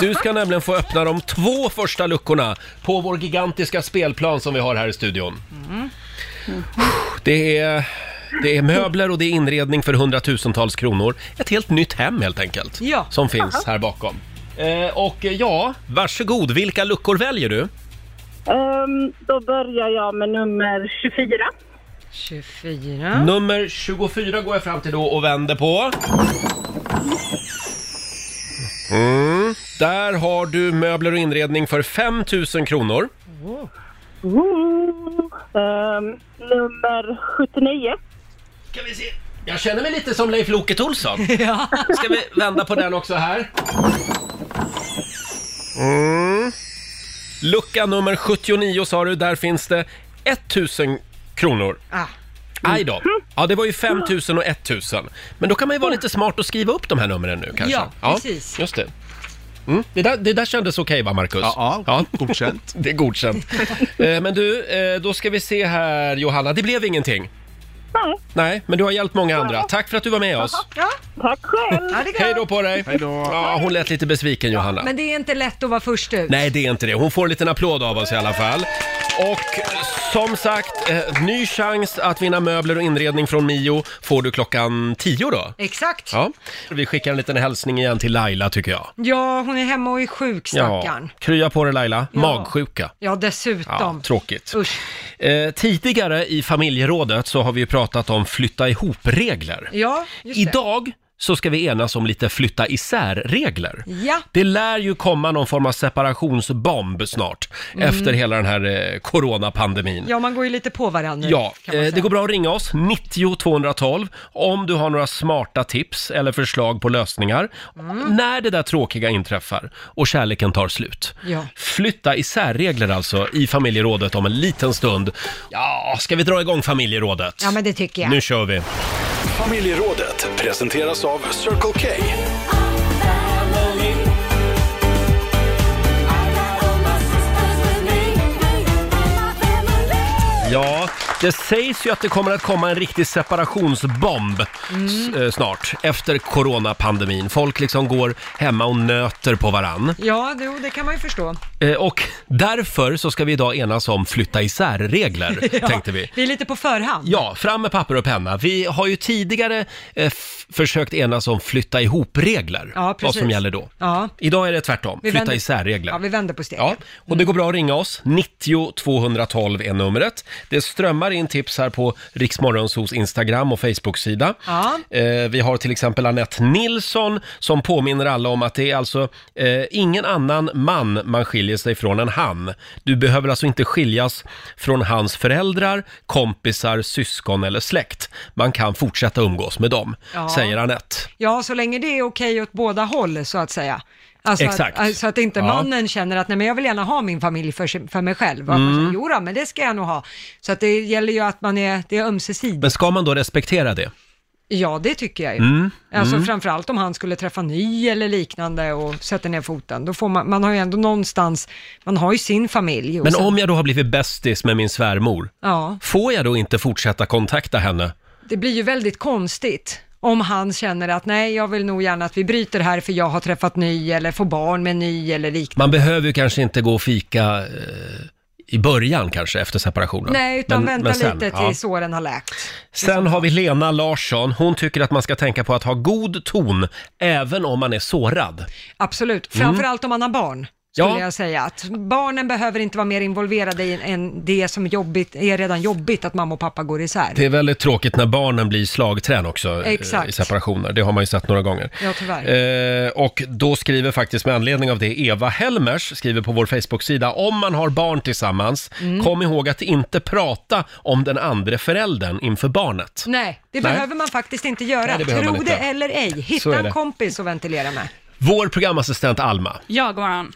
[SPEAKER 1] Du ska nämligen få öppna de två första luckorna på vår gigantiska spelplan som vi har här i studion. Det är, det är möbler och det är inredning för hundratusentals kronor. Ett helt nytt hem helt enkelt.
[SPEAKER 2] Ja.
[SPEAKER 1] Som finns här bakom. Eh, och eh, ja, varsågod. Vilka luckor väljer du?
[SPEAKER 11] Ehm, då börjar jag med nummer 24.
[SPEAKER 2] 24.
[SPEAKER 1] Nummer 24 går jag fram till då och vänder på. Mm. Där har du möbler och inredning för 5 000 kronor.
[SPEAKER 11] Woo! Ehm, nummer 79.
[SPEAKER 1] Ska vi se. Jag känner mig lite som Leif Loket Olsson.
[SPEAKER 2] Ja.
[SPEAKER 1] Ska vi vända på den också här? Mm.
[SPEAKER 10] Mm.
[SPEAKER 1] Lucka nummer 79 sa du, där finns det 1000 kronor.
[SPEAKER 2] Ah.
[SPEAKER 1] Aj då. Ja, det var ju 5 000 och 1 000. Men då kan man ju vara lite smart och skriva upp de här numren nu kanske.
[SPEAKER 2] Ja, precis.
[SPEAKER 1] Just det. Mm. Det, där, det där kändes okej va, Marcus?
[SPEAKER 10] Ja, ja, godkänt.
[SPEAKER 1] Det är godkänt. Eh, men du, eh, då ska vi se här Johanna. Det blev ingenting.
[SPEAKER 11] Nej,
[SPEAKER 1] Nej, men du har hjälpt många andra. Tack för att du var med oss.
[SPEAKER 2] Ja,
[SPEAKER 11] tack själv!
[SPEAKER 2] ja, det är
[SPEAKER 1] Hej
[SPEAKER 2] bra.
[SPEAKER 1] då på dig.
[SPEAKER 10] Hej då.
[SPEAKER 1] Ja, hon lät lite besviken Johanna.
[SPEAKER 2] Men det är inte lätt att vara först ut.
[SPEAKER 1] Nej, det är inte det. Hon får en liten applåd av oss i alla fall. Och som sagt, eh, ny chans att vinna möbler och inredning från Mio får du klockan 10 då.
[SPEAKER 2] Exakt. Ja.
[SPEAKER 1] Ja. Vi skickar en liten hälsning igen till Laila tycker jag.
[SPEAKER 2] hon är hemma och är sjuk,
[SPEAKER 1] Ja.
[SPEAKER 2] stackarn.
[SPEAKER 1] Krya på dig Laila,
[SPEAKER 2] Ja.
[SPEAKER 1] magsjuka.
[SPEAKER 2] Ja,
[SPEAKER 1] Ja,
[SPEAKER 2] dessutom.
[SPEAKER 1] tråkigt.
[SPEAKER 2] Usch.
[SPEAKER 1] Eh, tidigare i familjerådet så har vi ju pratat om flytta ihop-regler.
[SPEAKER 2] Ja, just
[SPEAKER 1] Idag så ska vi enas om lite flytta isär-regler.
[SPEAKER 2] det. Ja,
[SPEAKER 1] Det lär ju komma någon form av separationsbomb snart
[SPEAKER 2] Mm.
[SPEAKER 1] efter hela den här eh, coronapandemin.
[SPEAKER 2] ja, man går ju lite på varandra.
[SPEAKER 1] Ja,
[SPEAKER 2] kan man
[SPEAKER 1] eh, det
[SPEAKER 2] säga.
[SPEAKER 1] går bra att ringa oss, 90 212, om du har några smarta tips eller förslag på lösningar.
[SPEAKER 2] Mm.
[SPEAKER 1] När det där tråkiga inträffar och kärleken tar slut.
[SPEAKER 2] Ja.
[SPEAKER 1] Flytta isärregler alltså i familjerådet om en liten stund. Ja, ska vi dra igång familjerådet?
[SPEAKER 2] Ja, men det tycker jag.
[SPEAKER 1] Nu kör vi!
[SPEAKER 7] Familjerådet presenteras av Circle K.
[SPEAKER 1] Ja, det sägs ju att det kommer att komma en riktig separationsbomb s-
[SPEAKER 2] Mm.
[SPEAKER 1] eh, snart efter coronapandemin. Folk liksom går hemma och nöter på varann.
[SPEAKER 2] Ja, det, jo, det kan man ju förstå.
[SPEAKER 1] Eh, Och därför så ska vi idag enas om flytta isär-regler,
[SPEAKER 2] Ja,
[SPEAKER 1] tänkte vi.
[SPEAKER 2] Vi är lite på förhand.
[SPEAKER 1] Ja, fram med papper och penna. Vi har ju tidigare eh, f- försökt enas om flytta ihop-regler,
[SPEAKER 2] Ja, precis.
[SPEAKER 1] vad som gäller då.
[SPEAKER 2] Ja.
[SPEAKER 1] Idag är det tvärtom,
[SPEAKER 2] Vi
[SPEAKER 1] flytta
[SPEAKER 2] vänder-
[SPEAKER 1] isär-regler.
[SPEAKER 2] Ja, vi vänder på steken.
[SPEAKER 1] Ja, och det går bra att ringa oss. 90 212 är numret. Det strömmar in tips här på Riksmorgonsos Instagram och Facebook-sida.
[SPEAKER 2] Ja.
[SPEAKER 1] Eh, vi har till exempel Annette Nilsson som påminner alla om att det är alltså eh, ingen annan man man skiljer sig från än han. Du behöver alltså inte skiljas från hans föräldrar, kompisar, syskon eller släkt. Man kan fortsätta umgås med dem,
[SPEAKER 2] Ja.
[SPEAKER 1] säger Annette.
[SPEAKER 2] Ja, så länge det är okej åt båda håll så att säga. Alltså
[SPEAKER 1] Exakt.
[SPEAKER 2] Att, så att inte
[SPEAKER 1] Ja.
[SPEAKER 2] mannen känner att nej men jag vill gärna ha min familj för, sig- för mig själv. Och att man
[SPEAKER 1] Mm.
[SPEAKER 2] säger, Jodå, men det ska jag nog ha. Så att det gäller ju att man är, det är ömsesidigt.
[SPEAKER 1] Men ska man då respektera det?
[SPEAKER 2] Ja, det tycker jag ju.
[SPEAKER 1] Mm,
[SPEAKER 2] Alltså
[SPEAKER 1] mm.
[SPEAKER 2] framförallt om han skulle träffa ny eller liknande och sätta ner foten. Då får man, man har ju ändå någonstans, man har ju sin familj. och
[SPEAKER 1] Men
[SPEAKER 2] sen-
[SPEAKER 1] om jag då har blivit bästis med min svärmor,
[SPEAKER 2] Ja,
[SPEAKER 1] Får jag då inte fortsätta kontakta henne?
[SPEAKER 2] det blir ju väldigt konstigt om han känner att nej, jag vill nog gärna att vi bryter här för jag har träffat ny eller får barn med ny eller liknande.
[SPEAKER 1] Man behöver ju kanske inte gå och fika eh, i början kanske efter separationen.
[SPEAKER 2] Nej, utan
[SPEAKER 1] Men-
[SPEAKER 2] vänta
[SPEAKER 1] men sen,
[SPEAKER 2] lite
[SPEAKER 1] ja.
[SPEAKER 2] till såren har läkt.
[SPEAKER 1] Sen har vi Lena Larsson. Hon tycker att man ska tänka på att ha god ton även om man är sårad.
[SPEAKER 2] Absolut,
[SPEAKER 1] Mm.
[SPEAKER 2] framförallt om man har barn. Skulle
[SPEAKER 1] Ja.
[SPEAKER 2] jag säga att barnen behöver inte vara mer involverade i än det som är jobbigt, är redan jobbigt att mamma och pappa går isär.
[SPEAKER 1] Det är väldigt tråkigt när barnen blir slagträn också eh,
[SPEAKER 2] Exakt.
[SPEAKER 1] i separationer. Det har man ju sett några gånger.
[SPEAKER 2] Ja, tyvärr.
[SPEAKER 1] Eh, och då skriver faktiskt med anledning av det Eva Helmers skriver på vår Facebook-sida om man har barn tillsammans, kom ihåg att inte prata om den andra föräldern inför barnet.
[SPEAKER 2] Nej, det
[SPEAKER 1] Nej.
[SPEAKER 2] behöver man faktiskt inte göra.
[SPEAKER 1] Nej, det behöver
[SPEAKER 2] Tro
[SPEAKER 1] man
[SPEAKER 2] det
[SPEAKER 1] inte.
[SPEAKER 2] eller ej,
[SPEAKER 1] Så
[SPEAKER 2] hitta
[SPEAKER 1] är
[SPEAKER 2] en
[SPEAKER 1] det.
[SPEAKER 2] kompis att ventilera med.
[SPEAKER 1] Vår programassistent Alma,
[SPEAKER 10] Ja, god morgon.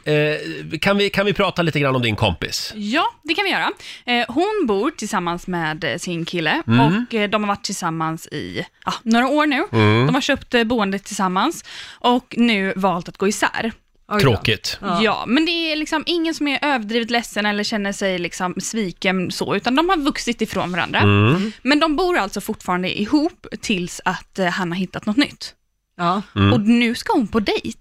[SPEAKER 1] eh, kan, vi, kan vi prata lite grann om din kompis?
[SPEAKER 10] Ja, det kan vi göra. Eh, Hon bor tillsammans med eh, sin kille
[SPEAKER 1] Mm.
[SPEAKER 10] och eh, de har varit tillsammans i ja, några år nu.
[SPEAKER 1] Mm.
[SPEAKER 10] De har köpt eh, boendet tillsammans och nu valt att gå isär.
[SPEAKER 1] då. Tråkigt.
[SPEAKER 10] Ja. ja, men det är liksom ingen som är överdrivet ledsen eller känner sig liksom sviken så, utan de har vuxit ifrån varandra.
[SPEAKER 1] Mm.
[SPEAKER 10] Men de bor alltså fortfarande ihop tills att eh, han har hittat något nytt.
[SPEAKER 2] Ja.
[SPEAKER 1] Mm.
[SPEAKER 10] Och nu ska hon på dejt.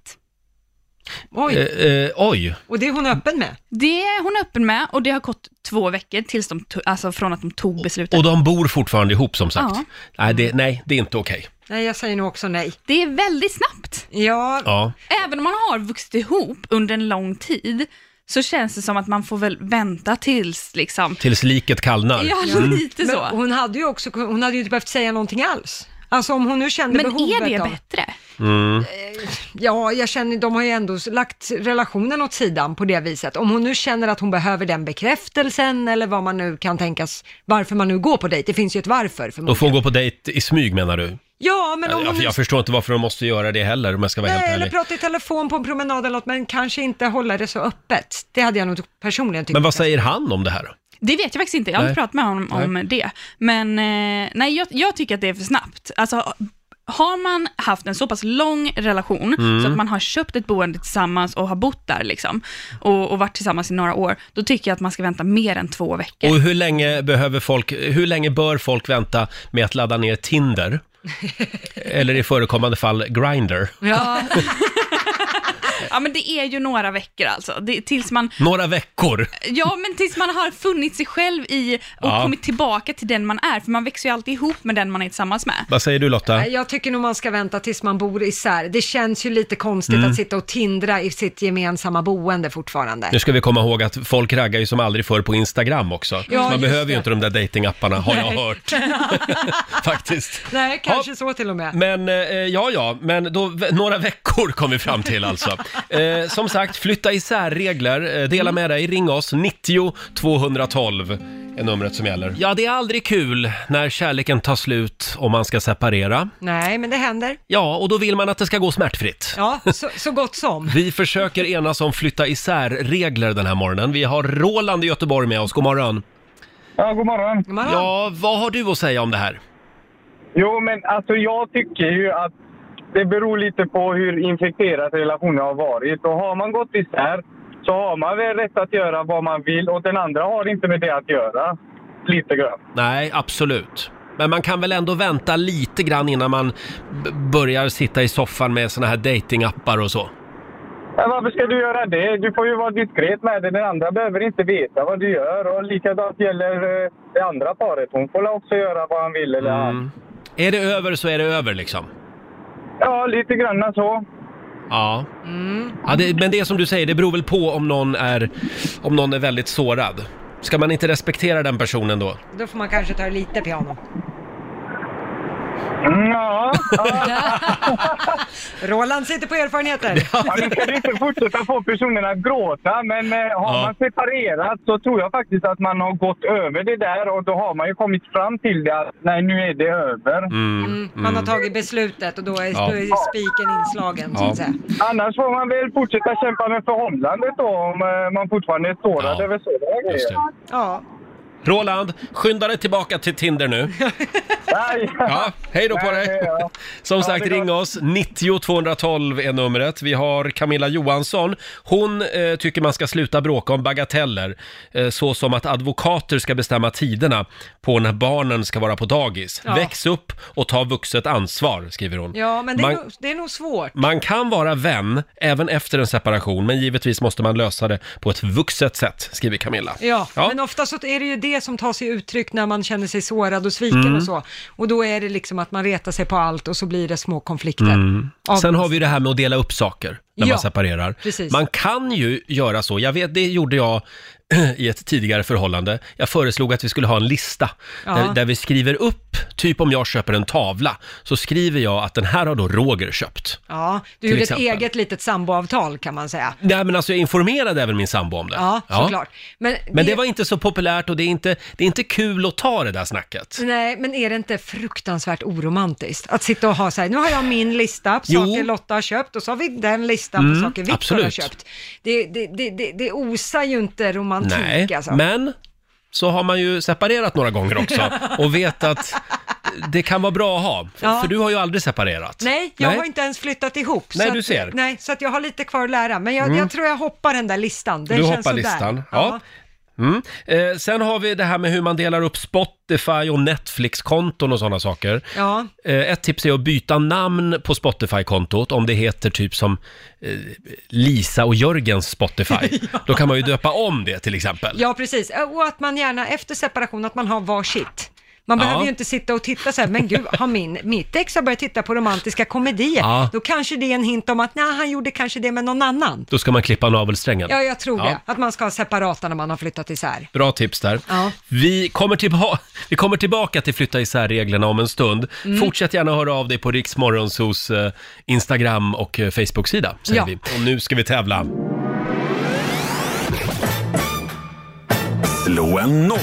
[SPEAKER 2] Oj.
[SPEAKER 1] Eh, eh, oj.
[SPEAKER 2] Och det är hon öppen med?
[SPEAKER 10] Det är hon öppen med och det har gått två veckor tills de to- alltså från att de tog beslutet.
[SPEAKER 1] Och de bor fortfarande ihop som sagt.
[SPEAKER 10] Ja.
[SPEAKER 1] Nej, det, nej, det är inte okej.
[SPEAKER 2] Nej, jag säger nog också nej.
[SPEAKER 10] Det är väldigt snabbt.
[SPEAKER 2] Ja.
[SPEAKER 1] Ja.
[SPEAKER 10] Även om man har vuxit ihop under en lång tid så känns det som att man får väl vänta tills liksom...
[SPEAKER 1] Tills liket kallnar.
[SPEAKER 10] Ja, lite så.
[SPEAKER 2] Men hon hade ju också, hon hade ju inte behövt säga någonting alls. Alltså om hon nu kände
[SPEAKER 10] Men är
[SPEAKER 2] behovet
[SPEAKER 10] det
[SPEAKER 2] av...
[SPEAKER 10] bättre?
[SPEAKER 1] Mm.
[SPEAKER 2] Ja, jag känner, de har ju ändå lagt relationen åt sidan på det viset. Om hon nu känner att hon behöver den bekräftelsen eller vad man nu kan tänkas, varför man nu går på dejt, det finns ju ett varför
[SPEAKER 1] Då
[SPEAKER 2] förmodligen.
[SPEAKER 1] får hon gå på dejt i smyg menar du?
[SPEAKER 2] Ja, men om hon
[SPEAKER 1] jag, jag förstår inte varför de måste göra det heller om jag ska vara
[SPEAKER 2] Nej,
[SPEAKER 1] helt
[SPEAKER 2] eller
[SPEAKER 1] ärlig.
[SPEAKER 2] prata i telefon på en promenad eller något, men kanske inte hålla det så öppet. Det hade jag nog personligen tyckt.
[SPEAKER 1] Men vad säger han om det här?
[SPEAKER 10] Det vet jag faktiskt inte. Jag har inte
[SPEAKER 1] Nej.
[SPEAKER 10] pratat med honom om
[SPEAKER 1] Nej.
[SPEAKER 10] det. Men eh, nej, jag, jag tycker att det är för snabbt. Alltså, har man haft en så pass lång relation
[SPEAKER 12] Mm.
[SPEAKER 10] så att man har köpt ett boende tillsammans och har bott där liksom, och, och varit tillsammans i några år, då tycker jag att man ska vänta mer än två veckor.
[SPEAKER 1] Och hur länge behöver folk, hur länge bör folk vänta med att ladda ner Tinder? Eller i förekommande fall Grindr?
[SPEAKER 10] Ja. ja, men det är ju några veckor alltså. Det, tills man
[SPEAKER 1] Några veckor?
[SPEAKER 10] Ja, men tills man har funnit sig själv i och
[SPEAKER 1] Ja.
[SPEAKER 10] kommit tillbaka till den man är, för man växer ju alltid ihop med den man är tillsammans med.
[SPEAKER 1] Vad säger du Lotta?
[SPEAKER 2] Nej, Eh, Jag tycker nog man ska vänta tills man bor isär. Det känns ju lite konstigt
[SPEAKER 1] Mm.
[SPEAKER 2] att sitta och tindra i sitt gemensamma boende fortfarande.
[SPEAKER 1] Nu ska vi komma ihåg att folk raggar ju som aldrig förr på Instagram också.
[SPEAKER 2] Ja,
[SPEAKER 1] Man
[SPEAKER 2] just
[SPEAKER 1] behöver ju
[SPEAKER 2] det.
[SPEAKER 1] inte de där datingapparna har jag hört faktiskt.
[SPEAKER 2] Nej, kanske så till och med.
[SPEAKER 1] Men eh, ja, ja, men då, v- några veckor kom vi fram till alltså. Eh, som sagt, flytta isär regler, eh, dela med dig, ring oss, 90 212 är numret som gäller. Ja, det är aldrig kul när kärleken tar slut och man ska separera.
[SPEAKER 2] Nej, men det händer.
[SPEAKER 1] Ja, och då vill man att det ska gå smärtfritt.
[SPEAKER 2] Ja, så, så gott som.
[SPEAKER 1] Vi försöker enas om flytta isär regler den här morgonen. Vi har Roland i Göteborg med oss, god morgon.
[SPEAKER 13] Ja, god morgon.
[SPEAKER 1] Ja, vad har du att säga om det här?
[SPEAKER 12] Jo, men alltså jag tycker ju att det beror lite på hur infekterad relationen har varit. Och har man gått isär så har man väl rätt att göra vad man vill och den andra har inte med det att göra. Lite grann.
[SPEAKER 1] Nej, absolut. Men man kan väl ändå vänta lite grann innan man b- börjar sitta i soffan med såna här datingappar och så.
[SPEAKER 12] Men varför ska du göra det? Du får ju vara diskret med det. Den andra behöver inte veta vad du gör. Och likadant gäller eh, det andra paret. Hon får också göra vad han vill eller han.
[SPEAKER 1] Är det över så är det över liksom.
[SPEAKER 12] Ja, lite grann så.
[SPEAKER 1] Ja. ja det, men det är som du säger, det beror väl på om någon är, om någon är väldigt sårad. Ska man inte respektera den personen då?
[SPEAKER 2] Då får man kanske ta lite piano.
[SPEAKER 12] Mm, Ja.
[SPEAKER 2] Roland sitter på erfarenheter.
[SPEAKER 12] Ja, men kan du inte fortsätta få personerna att gråta? Men eh, har
[SPEAKER 2] Ja.
[SPEAKER 12] man separerat så tror jag faktiskt att man har gått över det där och då har man ju kommit fram till det att nej, nu är det över.
[SPEAKER 1] Mm,
[SPEAKER 2] Man har tagit beslutet och då är,
[SPEAKER 12] Ja.
[SPEAKER 2] då är spiken inslagen så att säga.
[SPEAKER 12] Annars får man väl fortsätta kämpa med förhållandet då om eh, man fortfarande är sårad över sådana
[SPEAKER 1] Just
[SPEAKER 12] grejer.
[SPEAKER 1] det.
[SPEAKER 2] Ja.
[SPEAKER 1] Roland, skynda dig tillbaka till Tinder nu. Ja, hej då på dig. Som sagt, ring oss. 90 212 är numret. Vi har Camilla Johansson. Hon eh, tycker man ska sluta bråka om bagateller, eh, så som att advokater ska bestämma tiderna på när barnen ska vara på dagis.
[SPEAKER 2] Ja.
[SPEAKER 1] Väx upp och ta vuxet ansvar, skriver hon.
[SPEAKER 2] Ja, men det är,
[SPEAKER 1] Man-
[SPEAKER 2] nog, det är nog svårt.
[SPEAKER 1] Man kan vara vän även efter en separation, men givetvis måste man lösa det på ett vuxet sätt, skriver Camilla.
[SPEAKER 2] Ja,
[SPEAKER 1] Ja.
[SPEAKER 2] men ofta så är det ju det som tar sig uttryck när man känner sig sårad och sviken
[SPEAKER 1] Mm.
[SPEAKER 2] och så. Och då är det liksom att man retar sig på allt och så blir det små konflikter.
[SPEAKER 1] Mm.
[SPEAKER 2] Av-
[SPEAKER 1] Sen har vi det här med att dela upp saker när
[SPEAKER 2] Ja,
[SPEAKER 1] man separerar.
[SPEAKER 2] precis.
[SPEAKER 1] Man kan ju göra så, jag vet, det gjorde jag i ett tidigare förhållande. Jag föreslog att vi skulle ha en lista
[SPEAKER 2] Ja.
[SPEAKER 1] där, där vi skriver upp, typ om jag köper en tavla, så skriver jag att den här har då Roger köpt.
[SPEAKER 2] Ja, du
[SPEAKER 1] Till
[SPEAKER 2] gjorde
[SPEAKER 1] exempel.
[SPEAKER 2] ett eget litet samboavtal kan man säga.
[SPEAKER 1] Nej men alltså jag informerade även min sambo om det.
[SPEAKER 2] Ja, såklart. Men,
[SPEAKER 1] Men det var inte så populärt och det är inte, det är inte kul att ta det där snacket.
[SPEAKER 2] Nej, men är det inte fruktansvärt oromantiskt? Att sitta och ha så här, nu har jag min lista på
[SPEAKER 1] Jo.
[SPEAKER 2] saker Lotta har köpt och så har vi den listan på
[SPEAKER 1] Mm,
[SPEAKER 2] saker Viktor har
[SPEAKER 1] absolut.
[SPEAKER 2] köpt. Det, det, det, det, det osar ju inte romantik
[SPEAKER 1] Nej,
[SPEAKER 2] alltså.
[SPEAKER 1] men så har man ju separerat några gånger också och vet att det kan vara bra att ha.
[SPEAKER 2] Ja.
[SPEAKER 1] För du har ju aldrig separerat.
[SPEAKER 2] Nej, jag
[SPEAKER 1] Nej.
[SPEAKER 2] har inte ens flyttat ihop.
[SPEAKER 1] Nej,
[SPEAKER 2] så
[SPEAKER 1] du
[SPEAKER 2] att,
[SPEAKER 1] ser.
[SPEAKER 2] Nej, så att jag har lite kvar att lära. Men jag,
[SPEAKER 1] Mm.
[SPEAKER 2] jag tror jag hoppar den där listan. Den
[SPEAKER 1] du
[SPEAKER 2] känns
[SPEAKER 1] hoppar
[SPEAKER 2] sådär.
[SPEAKER 1] listan. Ja. Mm. Eh, sen har vi det här med hur man delar upp Spotify och Netflix-konton och sådana saker.
[SPEAKER 2] Ja.
[SPEAKER 1] Eh, ett tips är att byta namn på Spotify-kontot om det heter typ som eh, Lisa och Jörgens Spotify. Då kan man ju döpa om det till exempel.
[SPEAKER 2] ja, precis. Och att man gärna efter separation, att man har varsitt. Man
[SPEAKER 1] Ja.
[SPEAKER 2] behöver ju inte sitta och titta så här, men gud, har min, mitt ex har börjat titta på romantiska komedier?
[SPEAKER 1] Ja.
[SPEAKER 2] Då kanske det är en hint om att, nej, han gjorde kanske det med någon annan.
[SPEAKER 1] Då ska man klippa navelsträngen.
[SPEAKER 2] Ja, jag tror
[SPEAKER 1] Ja.
[SPEAKER 2] det. Att man ska ha separata när man har flyttat isär.
[SPEAKER 1] Bra tips där.
[SPEAKER 2] Ja.
[SPEAKER 1] Vi, kommer tillba- vi kommer tillbaka till flytta isär-reglerna om en stund.
[SPEAKER 2] Mm.
[SPEAKER 1] Fortsätt gärna höra av dig på Riksmorgonsos eh, Instagram och eh, Facebook-sida. Säger
[SPEAKER 2] Ja.
[SPEAKER 1] vi. Och nu ska vi tävla.
[SPEAKER 3] Slå en 08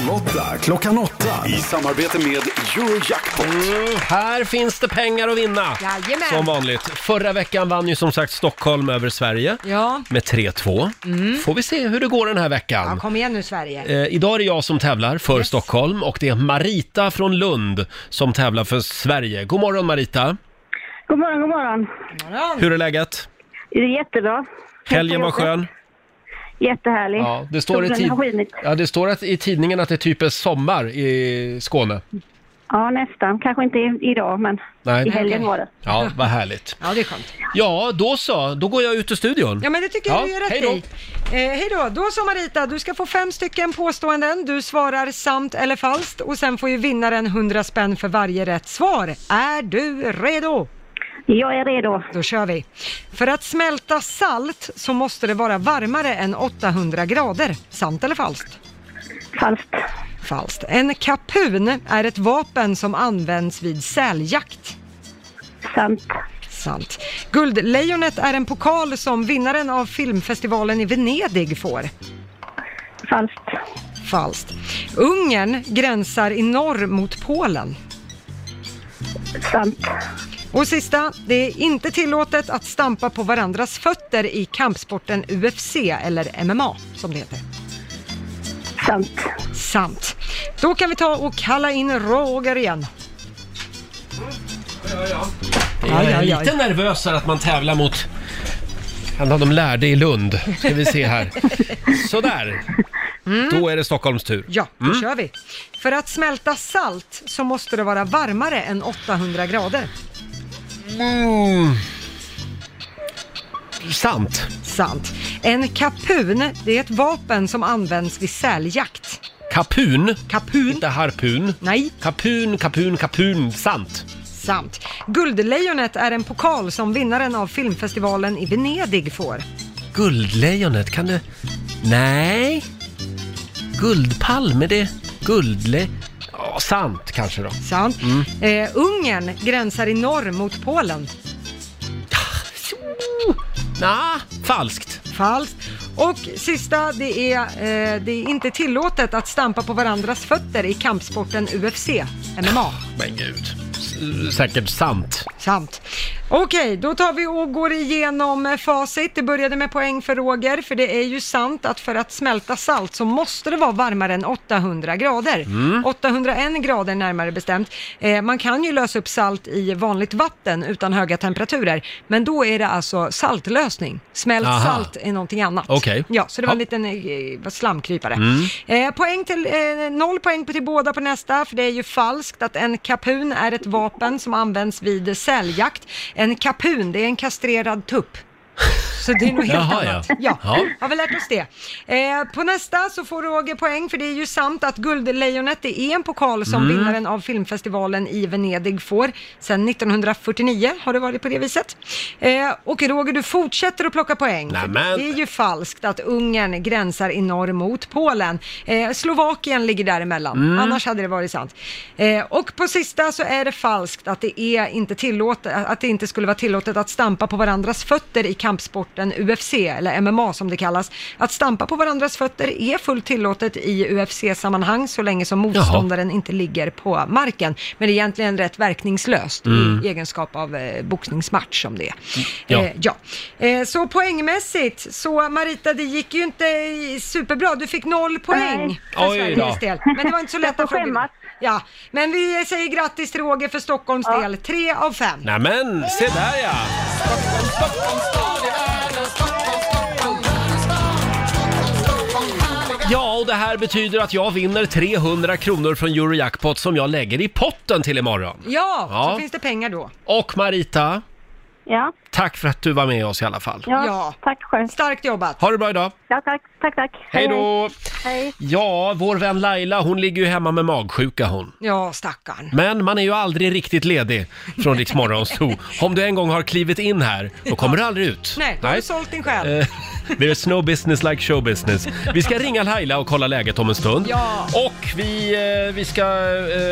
[SPEAKER 3] klockan 8.
[SPEAKER 7] I samarbete med Eurojackpot.
[SPEAKER 1] Här finns det pengar att vinna!
[SPEAKER 2] Jajamän.
[SPEAKER 1] Som vanligt. Förra veckan vann ju som sagt Stockholm över Sverige
[SPEAKER 2] Ja.
[SPEAKER 1] med 3-2.
[SPEAKER 2] Mm.
[SPEAKER 1] Får vi se hur det går den här
[SPEAKER 2] ja,
[SPEAKER 1] veckan.
[SPEAKER 2] kom igen nu Sverige.
[SPEAKER 1] Eh, idag är det jag som tävlar för Stockholm och det är Marita från Lund som tävlar för Sverige. God morgon Marita!
[SPEAKER 13] God morgon, god morgon.
[SPEAKER 1] Hur är läget?
[SPEAKER 13] Det är jättebra.
[SPEAKER 1] Helgen var
[SPEAKER 13] Jättejobbigt.
[SPEAKER 1] skön.
[SPEAKER 13] Jättehärlig.
[SPEAKER 1] Ja, det står, i
[SPEAKER 13] Solen
[SPEAKER 1] tid...
[SPEAKER 13] har skinit.
[SPEAKER 1] ja, det står att i tidningen att det typ är sommar i Skåne.
[SPEAKER 13] Ja, nästan. Kanske inte i- idag, men
[SPEAKER 1] Nej.
[SPEAKER 13] i helgen var det.
[SPEAKER 1] Ja, vad härligt.
[SPEAKER 2] Ja, det är skönt.
[SPEAKER 1] Ja, då så. Då går jag ut ur studion.
[SPEAKER 2] Ja, men det tycker jag du gör rätt
[SPEAKER 1] hej då.
[SPEAKER 2] i. Eh, hej då. Då så Marita, du ska få fem stycken påståenden. Du svarar sant eller falskt och sen får ju vinnaren 100 spänn för varje rätt svar. Är du redo?
[SPEAKER 13] Jag är redo.
[SPEAKER 2] Då kör vi. För att smälta salt så måste det vara varmare än 800 grader. Sant eller falskt?
[SPEAKER 13] Falskt.
[SPEAKER 2] Falskt. En kapun är ett vapen som används vid säljakt.
[SPEAKER 13] Sant.
[SPEAKER 2] Sant. Guldlejonet är en pokal som vinnaren av filmfestivalen i Venedig får.
[SPEAKER 13] Falskt.
[SPEAKER 2] Falskt. Ungern gränsar i norr mot Polen.
[SPEAKER 13] Sant.
[SPEAKER 2] Och sista, det är inte tillåtet att stampa på varandras fötter i kampsporten UFC eller MMA som det heter.
[SPEAKER 13] Sant.
[SPEAKER 2] Sant. Då kan vi ta och kalla in Roger igen.
[SPEAKER 1] Jag är
[SPEAKER 2] Aj, aj, aj.
[SPEAKER 1] lite nervös här att man tävlar mot en av de lärde i Lund. Ska vi se här. Sådär, då är det Stockholms tur.
[SPEAKER 2] Mm. Ja, då
[SPEAKER 1] Mm.
[SPEAKER 2] kör vi. För att smälta salt så måste det vara varmare än 800 grader.
[SPEAKER 1] Mm. Sant.
[SPEAKER 2] Sant. En kapun, det är ett vapen som används vid säljakt.
[SPEAKER 1] Kapun.
[SPEAKER 2] Kapun.
[SPEAKER 1] Inte harpun.
[SPEAKER 2] Nej.
[SPEAKER 1] Kapun, kapun, kapun. Sant.
[SPEAKER 2] Sant. Guldlejonet är en pokal som vinnaren av filmfestivalen i Venedig får.
[SPEAKER 1] Guldlejonet, kan du... Nej. Guldpalme, det... Guldle... Ja, sant kanske då.
[SPEAKER 2] Sant.
[SPEAKER 1] Mm.
[SPEAKER 2] Eh, Ungern gränsar i norr mot Polen.
[SPEAKER 1] Nah, falskt.
[SPEAKER 2] Falskt. Och sista, det är, eh, det är inte tillåtet att stampa på varandras fötter i kampsporten UFC, MMA.
[SPEAKER 1] Men gud. S- säkert sant.
[SPEAKER 2] Sant. Okej, då tar vi och går igenom eh, facit. Det började med poäng för Roger, för det är ju sant att för att smälta salt så måste det vara varmare än 800 grader.
[SPEAKER 14] Mm.
[SPEAKER 2] 801 grader närmare bestämt. Eh, man kan ju lösa upp salt i vanligt vatten utan höga temperaturer, men då är det alltså saltlösning. Smält
[SPEAKER 1] Aha.
[SPEAKER 2] salt är någonting annat.
[SPEAKER 1] Okej.
[SPEAKER 2] Ja, så det var en
[SPEAKER 1] Ja.
[SPEAKER 2] liten eh, slamkrypare.
[SPEAKER 1] Mm.
[SPEAKER 2] Eh, poäng till, eh, noll poäng till båda på nästa, för det är ju falskt att en kapun är ett vapen som används vid säljakt. En kapun, det är en kastrerad tupp. Så det är nog helt
[SPEAKER 14] Jaha,
[SPEAKER 2] annat.
[SPEAKER 14] ja.
[SPEAKER 2] Ja.
[SPEAKER 14] Ja.
[SPEAKER 2] har vi lärt oss det. Eh, på nästa så får Roger poäng, för det är ju sant att Guldlejonet, det är en pokal som
[SPEAKER 14] Mm.
[SPEAKER 2] vinnaren av filmfestivalen i Venedig får. Sedan 1949 har det varit på det viset. Eh, och Roger, du fortsätter att plocka poäng. för
[SPEAKER 1] Nämen.
[SPEAKER 2] Det är ju falskt att Ungern gränsar i norr mot Polen. Eh, Slovakien ligger däremellan,
[SPEAKER 14] Mm.
[SPEAKER 2] annars hade det varit sant. Eh, och på sista så är det falskt att det, är inte tillåtet, att det inte skulle vara tillåtet att stampa på varandras fötter i kampsporten UFC, eller MMA som det kallas. Att stampa på varandras fötter är fullt tillåtet i UFC-sammanhang så länge som motståndaren inte ligger på marken. Men det är egentligen rätt verkningslöst
[SPEAKER 14] Mm.
[SPEAKER 2] i egenskap av eh, boxningsmatch som det är.
[SPEAKER 14] Ja.
[SPEAKER 2] Eh, ja. Eh, så poängmässigt, så Marita, det gick ju inte i- superbra. Du fick noll poäng
[SPEAKER 14] Oj
[SPEAKER 2] för
[SPEAKER 14] då.
[SPEAKER 2] Sveriges del. Men det var inte så lätt att fråga. Ja, men vi säger grattis till Roger för Stockholms del. Tre av fem.
[SPEAKER 1] Nämen, se där ja! Ja, och det här betyder att jag vinner 300 kronor från Eurojackpot som jag lägger i potten till imorgon.
[SPEAKER 2] Ja,
[SPEAKER 1] Ja.
[SPEAKER 2] så finns det pengar då.
[SPEAKER 1] Och Marita,
[SPEAKER 2] Ja.
[SPEAKER 1] tack för att du var med oss i alla fall.
[SPEAKER 2] Ja, tack själv. Starkt jobbat.
[SPEAKER 1] Ha det bra idag!
[SPEAKER 2] Ja, tack, tack, tack.
[SPEAKER 1] Hej då!
[SPEAKER 2] Hej.
[SPEAKER 1] Ja, vår vän Laila, hon ligger ju hemma med magsjuka hon.
[SPEAKER 2] Ja, stackarn.
[SPEAKER 1] Men man är ju aldrig riktigt ledig från Rix Morgonzoo. Om du en gång har klivit in här, då kommer du aldrig ut.
[SPEAKER 2] Nej, har du sålt din själ?
[SPEAKER 1] Eh, There's no business like show business. Vi ska ringa Laila och kolla läget om en stund.
[SPEAKER 2] Ja.
[SPEAKER 1] Och vi, eh, vi ska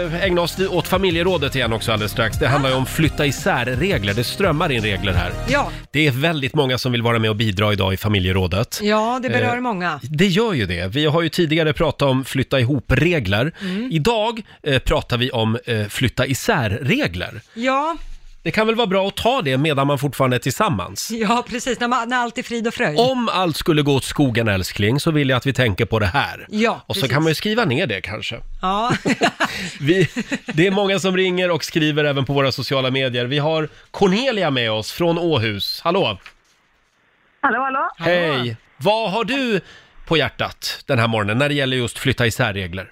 [SPEAKER 1] eh, ägna oss åt familjerådet igen också alldeles strax. Det handlar ju om flytta isär-regler. Det strömmar in regler här.
[SPEAKER 2] Ja.
[SPEAKER 1] Det är väldigt många som vill vara med och bidra idag i familjerådet.
[SPEAKER 2] ja, det berör
[SPEAKER 1] Eh,
[SPEAKER 2] många.
[SPEAKER 1] det gör ju det. Vi har ju tidigare pratat om flytta ihop-regler.
[SPEAKER 2] Mm.
[SPEAKER 1] Idag eh, pratar vi om eh, flytta isär-regler.
[SPEAKER 2] Ja,
[SPEAKER 1] Det kan väl vara bra att ta det medan man fortfarande är tillsammans.
[SPEAKER 2] ja precis. När, man, när allt är frid och fröjd.
[SPEAKER 1] Om allt skulle gå åt skogen älskling så vill jag att vi tänker på det här.
[SPEAKER 2] Ja,
[SPEAKER 1] Och så
[SPEAKER 2] precis.
[SPEAKER 1] kan man ju skriva ner det kanske.
[SPEAKER 2] Ja,
[SPEAKER 1] Vi, det är många som ringer och skriver även på våra sociala medier. Vi har Cornelia med oss från Åhus. Hallå!
[SPEAKER 15] Hallå, hallå?
[SPEAKER 1] Hej! Vad har du på hjärtat den här morgonen när det gäller just flytta isär-regler?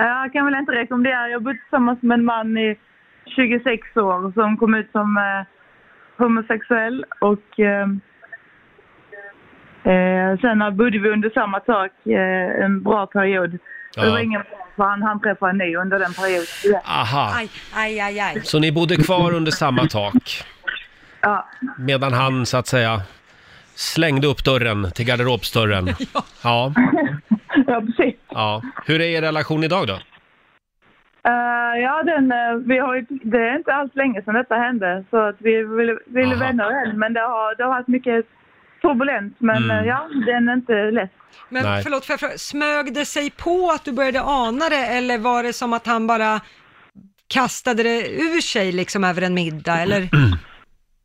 [SPEAKER 15] Eh, Jag kan väl inte rekommendera. Jag har bott tillsammans med en man i 26 år som kom ut som eh, homosexuell och eh, eh, sen bodde vi under samma tak eh, en bra period. Det
[SPEAKER 1] Ja.
[SPEAKER 15] var ingen bra för han, han träffade en ny under den perioden.
[SPEAKER 1] Aha. Aj,
[SPEAKER 2] aj, aj, aj.
[SPEAKER 1] Så ni bodde kvar under samma tak?
[SPEAKER 15] Ja.
[SPEAKER 1] Medan han så att säga slängde upp dörren till garderobsdörren? Ja. Ja.
[SPEAKER 15] ja, precis.
[SPEAKER 1] ja. Hur är er relation idag då?
[SPEAKER 15] Eh, ja, den, eh, vi har ju, det är inte alls länge sedan detta hände så att vi ville, ville
[SPEAKER 1] Aha.
[SPEAKER 15] vänner än men det har, det har varit mycket turbulent men
[SPEAKER 1] Mm.
[SPEAKER 15] eh, ja, den är inte lätt.
[SPEAKER 2] men
[SPEAKER 1] Nej.
[SPEAKER 2] förlåt, för jag fråga, smög det sig på att du började ana det eller var det som att han bara kastade det ur sig liksom över en middag eller?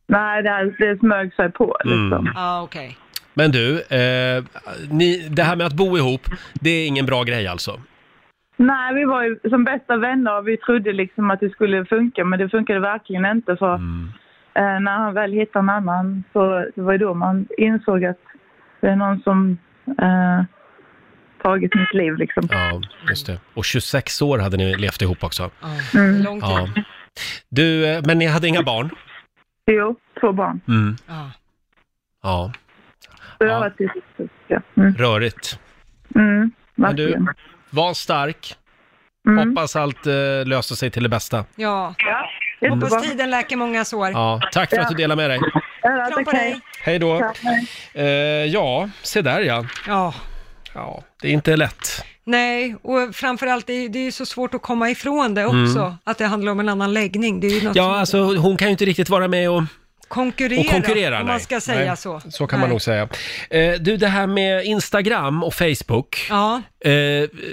[SPEAKER 15] Nej, det, det smög sig på. liksom.
[SPEAKER 1] Mm.
[SPEAKER 2] Ja, okej.
[SPEAKER 1] Men du, eh, ni, det här med att bo ihop, det är ingen bra grej alltså?
[SPEAKER 15] Nej, vi var ju som bästa vänner och vi trodde liksom att det skulle funka, men det funkade verkligen inte. För
[SPEAKER 1] Mm.
[SPEAKER 15] eh, när han väl hittade en annan så det var ju då man insåg att det är någon som eh, tagit mitt liv liksom.
[SPEAKER 1] Ja, just det. Och 26 år hade ni levt ihop också.
[SPEAKER 15] Mm.
[SPEAKER 1] Ja. Du, eh, men ni hade inga barn?
[SPEAKER 15] Jo, två barn.
[SPEAKER 1] Mm. Ja,
[SPEAKER 15] Så jag var till ja.
[SPEAKER 1] rörigt.
[SPEAKER 15] Mm,
[SPEAKER 1] Men du,
[SPEAKER 15] verkligen. Mm.
[SPEAKER 1] var stark. Hoppas allt eh, löser sig till det bästa.
[SPEAKER 2] Ja.
[SPEAKER 1] jättebra.
[SPEAKER 2] Hoppas tiden läker många sår.
[SPEAKER 1] Ja, tack för att du delade med dig.
[SPEAKER 2] Kram på dig.
[SPEAKER 1] Hej då.
[SPEAKER 2] Tack,
[SPEAKER 1] Eh,
[SPEAKER 2] hej.
[SPEAKER 1] ja, se där ja.
[SPEAKER 2] Ja.
[SPEAKER 1] Ja, det är inte lätt.
[SPEAKER 2] Nej, och framförallt det, är- det är ju så svårt att komma ifrån det också,
[SPEAKER 1] Mm.
[SPEAKER 2] att det handlar om en annan läggning. Det är ju något
[SPEAKER 1] Ja, alltså hon kan ju inte riktigt vara med och
[SPEAKER 2] som konkurrerar,
[SPEAKER 1] och konkurrera.
[SPEAKER 2] om
[SPEAKER 1] nej.
[SPEAKER 2] man ska säga
[SPEAKER 1] nej.
[SPEAKER 2] så.
[SPEAKER 1] Så kan
[SPEAKER 2] Nej.
[SPEAKER 1] man nog säga. Eh, du, det här med Instagram och Facebook.
[SPEAKER 2] Ja.
[SPEAKER 1] Eh,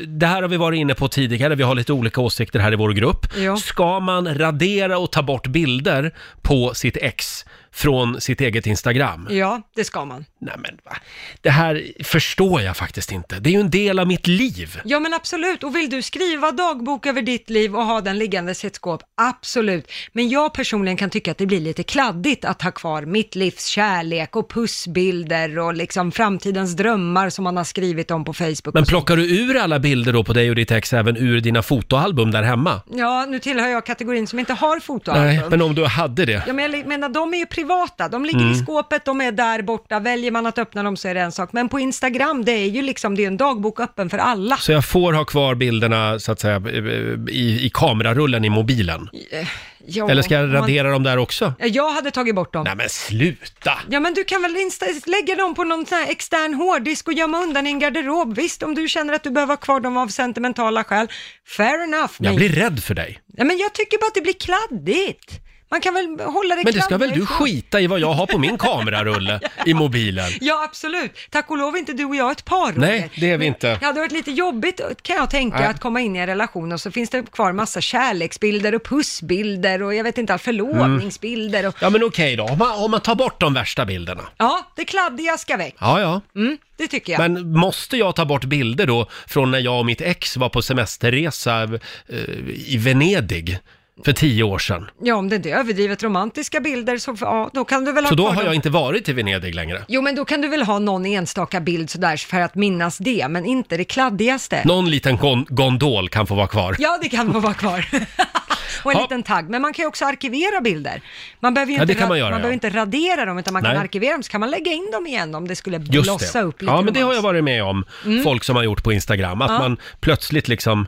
[SPEAKER 1] det här har vi varit inne på tidigare, vi har lite olika åsikter här i vår grupp.
[SPEAKER 2] Ja.
[SPEAKER 1] Ska man radera och ta bort bilder på sitt ex från sitt eget Instagram?
[SPEAKER 2] Ja, det ska man.
[SPEAKER 1] Nej, men va? Det här förstår jag faktiskt inte. Det är ju en del av mitt liv.
[SPEAKER 2] Ja men absolut, och vill du skriva dagbok över ditt liv och ha den liggande i sitt skåp, absolut. Men jag personligen kan tycka att det blir lite kladdigt att ha kvar mitt livs kärlek och pussbilder och liksom framtidens drömmar som man har skrivit om på Facebook.
[SPEAKER 1] Men
[SPEAKER 2] och så.
[SPEAKER 1] plockar du ur alla bilder då på dig och ditt ex även ur dina fotoalbum där hemma?
[SPEAKER 2] Ja, nu tillhör jag kategorin som inte har fotoalbum.
[SPEAKER 1] Nej, men om du hade det.
[SPEAKER 2] Ja, men jag menar, de är ju privata. De ligger i
[SPEAKER 1] Mm.
[SPEAKER 2] skåpet, de är där borta. Väljer man att öppna dem så är det en sak. Men på Instagram, det är ju liksom, det är en dagbok öppen för alla.
[SPEAKER 1] Så jag får ha kvar bilderna så att säga eh, i, i kamerarullen i mobilen?
[SPEAKER 2] Ja,
[SPEAKER 1] Eller ska
[SPEAKER 2] om
[SPEAKER 1] jag
[SPEAKER 2] man-
[SPEAKER 1] radera dem där också?
[SPEAKER 2] Ja, Jag hade tagit bort dem.
[SPEAKER 1] Nej men sluta!
[SPEAKER 2] Ja, men du kan väl insta- lägga dem på någon sån här extern hårddisk och gömma undan i en garderob. Visst, om du känner att du behöver ha kvar dem av sentimentala skäl. Fair enough.
[SPEAKER 1] Jag blir rädd för dig.
[SPEAKER 2] Ja, men jag tycker bara att det blir kladdigt. Man kan väl hålla det
[SPEAKER 1] Men det ska
[SPEAKER 2] kladdigt
[SPEAKER 1] väl du
[SPEAKER 2] ifrån.
[SPEAKER 1] skita i vad jag har på min kamerarulle i mobilen?
[SPEAKER 2] Ja, absolut. Tack och lov är inte du och jag ett par. Roger.
[SPEAKER 1] Nej, det är vi inte.
[SPEAKER 2] Det hade varit lite jobbigt kan jag tänka
[SPEAKER 1] Nej.
[SPEAKER 2] att komma in i en relation och så finns det kvar massa kärleksbilder och pussbilder och jag vet inte allt, förlovningsbilder och...
[SPEAKER 1] Ja men okej då, om man, om man tar bort de värsta bilderna.
[SPEAKER 2] Ja, det kladdiga ska väck.
[SPEAKER 1] Ja, ja.
[SPEAKER 2] Mm, det tycker jag.
[SPEAKER 1] Men måste jag ta bort bilder då från när jag och mitt ex var på semesterresa eh, i Venedig för tio år sedan?
[SPEAKER 2] Ja, om det inte är överdrivet romantiska bilder så ja, då kan du väl ha
[SPEAKER 1] Så då
[SPEAKER 2] kvar
[SPEAKER 1] har
[SPEAKER 2] dem.
[SPEAKER 1] jag inte varit i Venedig längre.
[SPEAKER 2] Jo, men då kan du väl ha någon enstaka bild sådär för att minnas det, men inte det kladdigaste.
[SPEAKER 1] Någon liten gon- gondol kan få vara kvar.
[SPEAKER 2] Ja, det kan få vara kvar. och en liten tagg. Men man kan ju också arkivera bilder. Man behöver ju
[SPEAKER 1] Ja,
[SPEAKER 2] inte,
[SPEAKER 1] det kan
[SPEAKER 2] ra-
[SPEAKER 1] man göra, ja.
[SPEAKER 2] behöver inte radera dem, utan man
[SPEAKER 1] Nej.
[SPEAKER 2] kan arkivera dem, så kan man lägga in dem igen om det skulle
[SPEAKER 1] Just
[SPEAKER 2] blossa
[SPEAKER 1] det.
[SPEAKER 2] upp lite.
[SPEAKER 1] ja, men det har jag varit med om.
[SPEAKER 2] Mm.
[SPEAKER 1] Folk som har gjort på Instagram. Att
[SPEAKER 2] Ja.
[SPEAKER 1] man plötsligt liksom...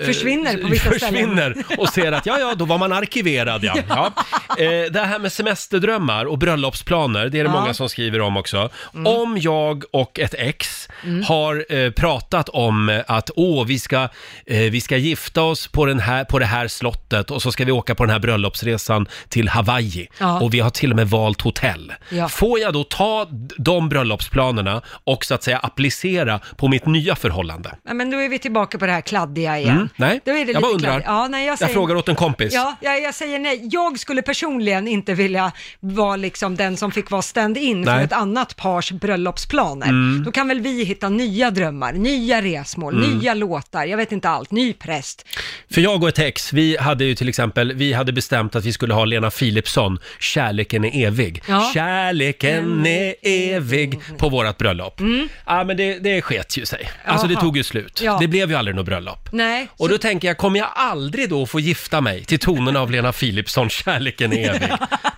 [SPEAKER 1] eh,
[SPEAKER 2] Försvinner på vissa ställen.
[SPEAKER 1] försvinner och ser att ja, ja, då var man arkiverad ja. ja. Eh, det här med semesterdrömmar och bröllopsplaner, det är det
[SPEAKER 14] Ja.
[SPEAKER 1] många som skriver om också. Om jag och ett ex har eh, pratat om eh, att åh, vi ska, eh, vi ska gifta oss på, den här, på det här slottet och så ska vi åka på den här bröllopsresan till Hawaii.
[SPEAKER 14] Ja.
[SPEAKER 1] Och vi har till och med valt hotell.
[SPEAKER 14] Ja.
[SPEAKER 1] Får jag då ta d- de bröllopsplanerna och så att säga applicera på mitt nya förhållande?
[SPEAKER 2] Ja, men då är vi tillbaka på det här kladdiga igen.
[SPEAKER 1] Mm, nej,
[SPEAKER 2] då är det
[SPEAKER 1] jag bara
[SPEAKER 2] lite
[SPEAKER 1] undrar.
[SPEAKER 2] kladdigt. Ja, nej, jag,
[SPEAKER 1] Jag
[SPEAKER 2] säger...
[SPEAKER 1] frågar åt en kompis.
[SPEAKER 2] Ja, jag, jag säger nej. Jag skulle personligen inte vilja vara liksom den som fick vara stand-in för
[SPEAKER 1] Nej.
[SPEAKER 2] ett annat pars bröllopsplaner.
[SPEAKER 1] Mm.
[SPEAKER 2] Då kan väl vi hitta nya drömmar, nya resmål,
[SPEAKER 1] Mm.
[SPEAKER 2] nya låtar, jag vet inte allt, ny präst.
[SPEAKER 1] För jag och ett ex, vi hade ju till exempel, vi hade bestämt att vi skulle ha Lena Philipsson, Kärleken är evig.
[SPEAKER 14] Ja.
[SPEAKER 2] Mm.
[SPEAKER 1] Kärleken är evig på vårt bröllop. Ja, men det, det sket ju sig. Alltså det
[SPEAKER 2] Jaha.
[SPEAKER 1] tog ju slut.
[SPEAKER 2] Ja.
[SPEAKER 1] Det blev ju aldrig något bröllop.
[SPEAKER 2] Nej,
[SPEAKER 1] Och då tänker jag, kommer jag aldrig då få gifta mig till tonerna av Lena Philipsson, Kärleken är evig?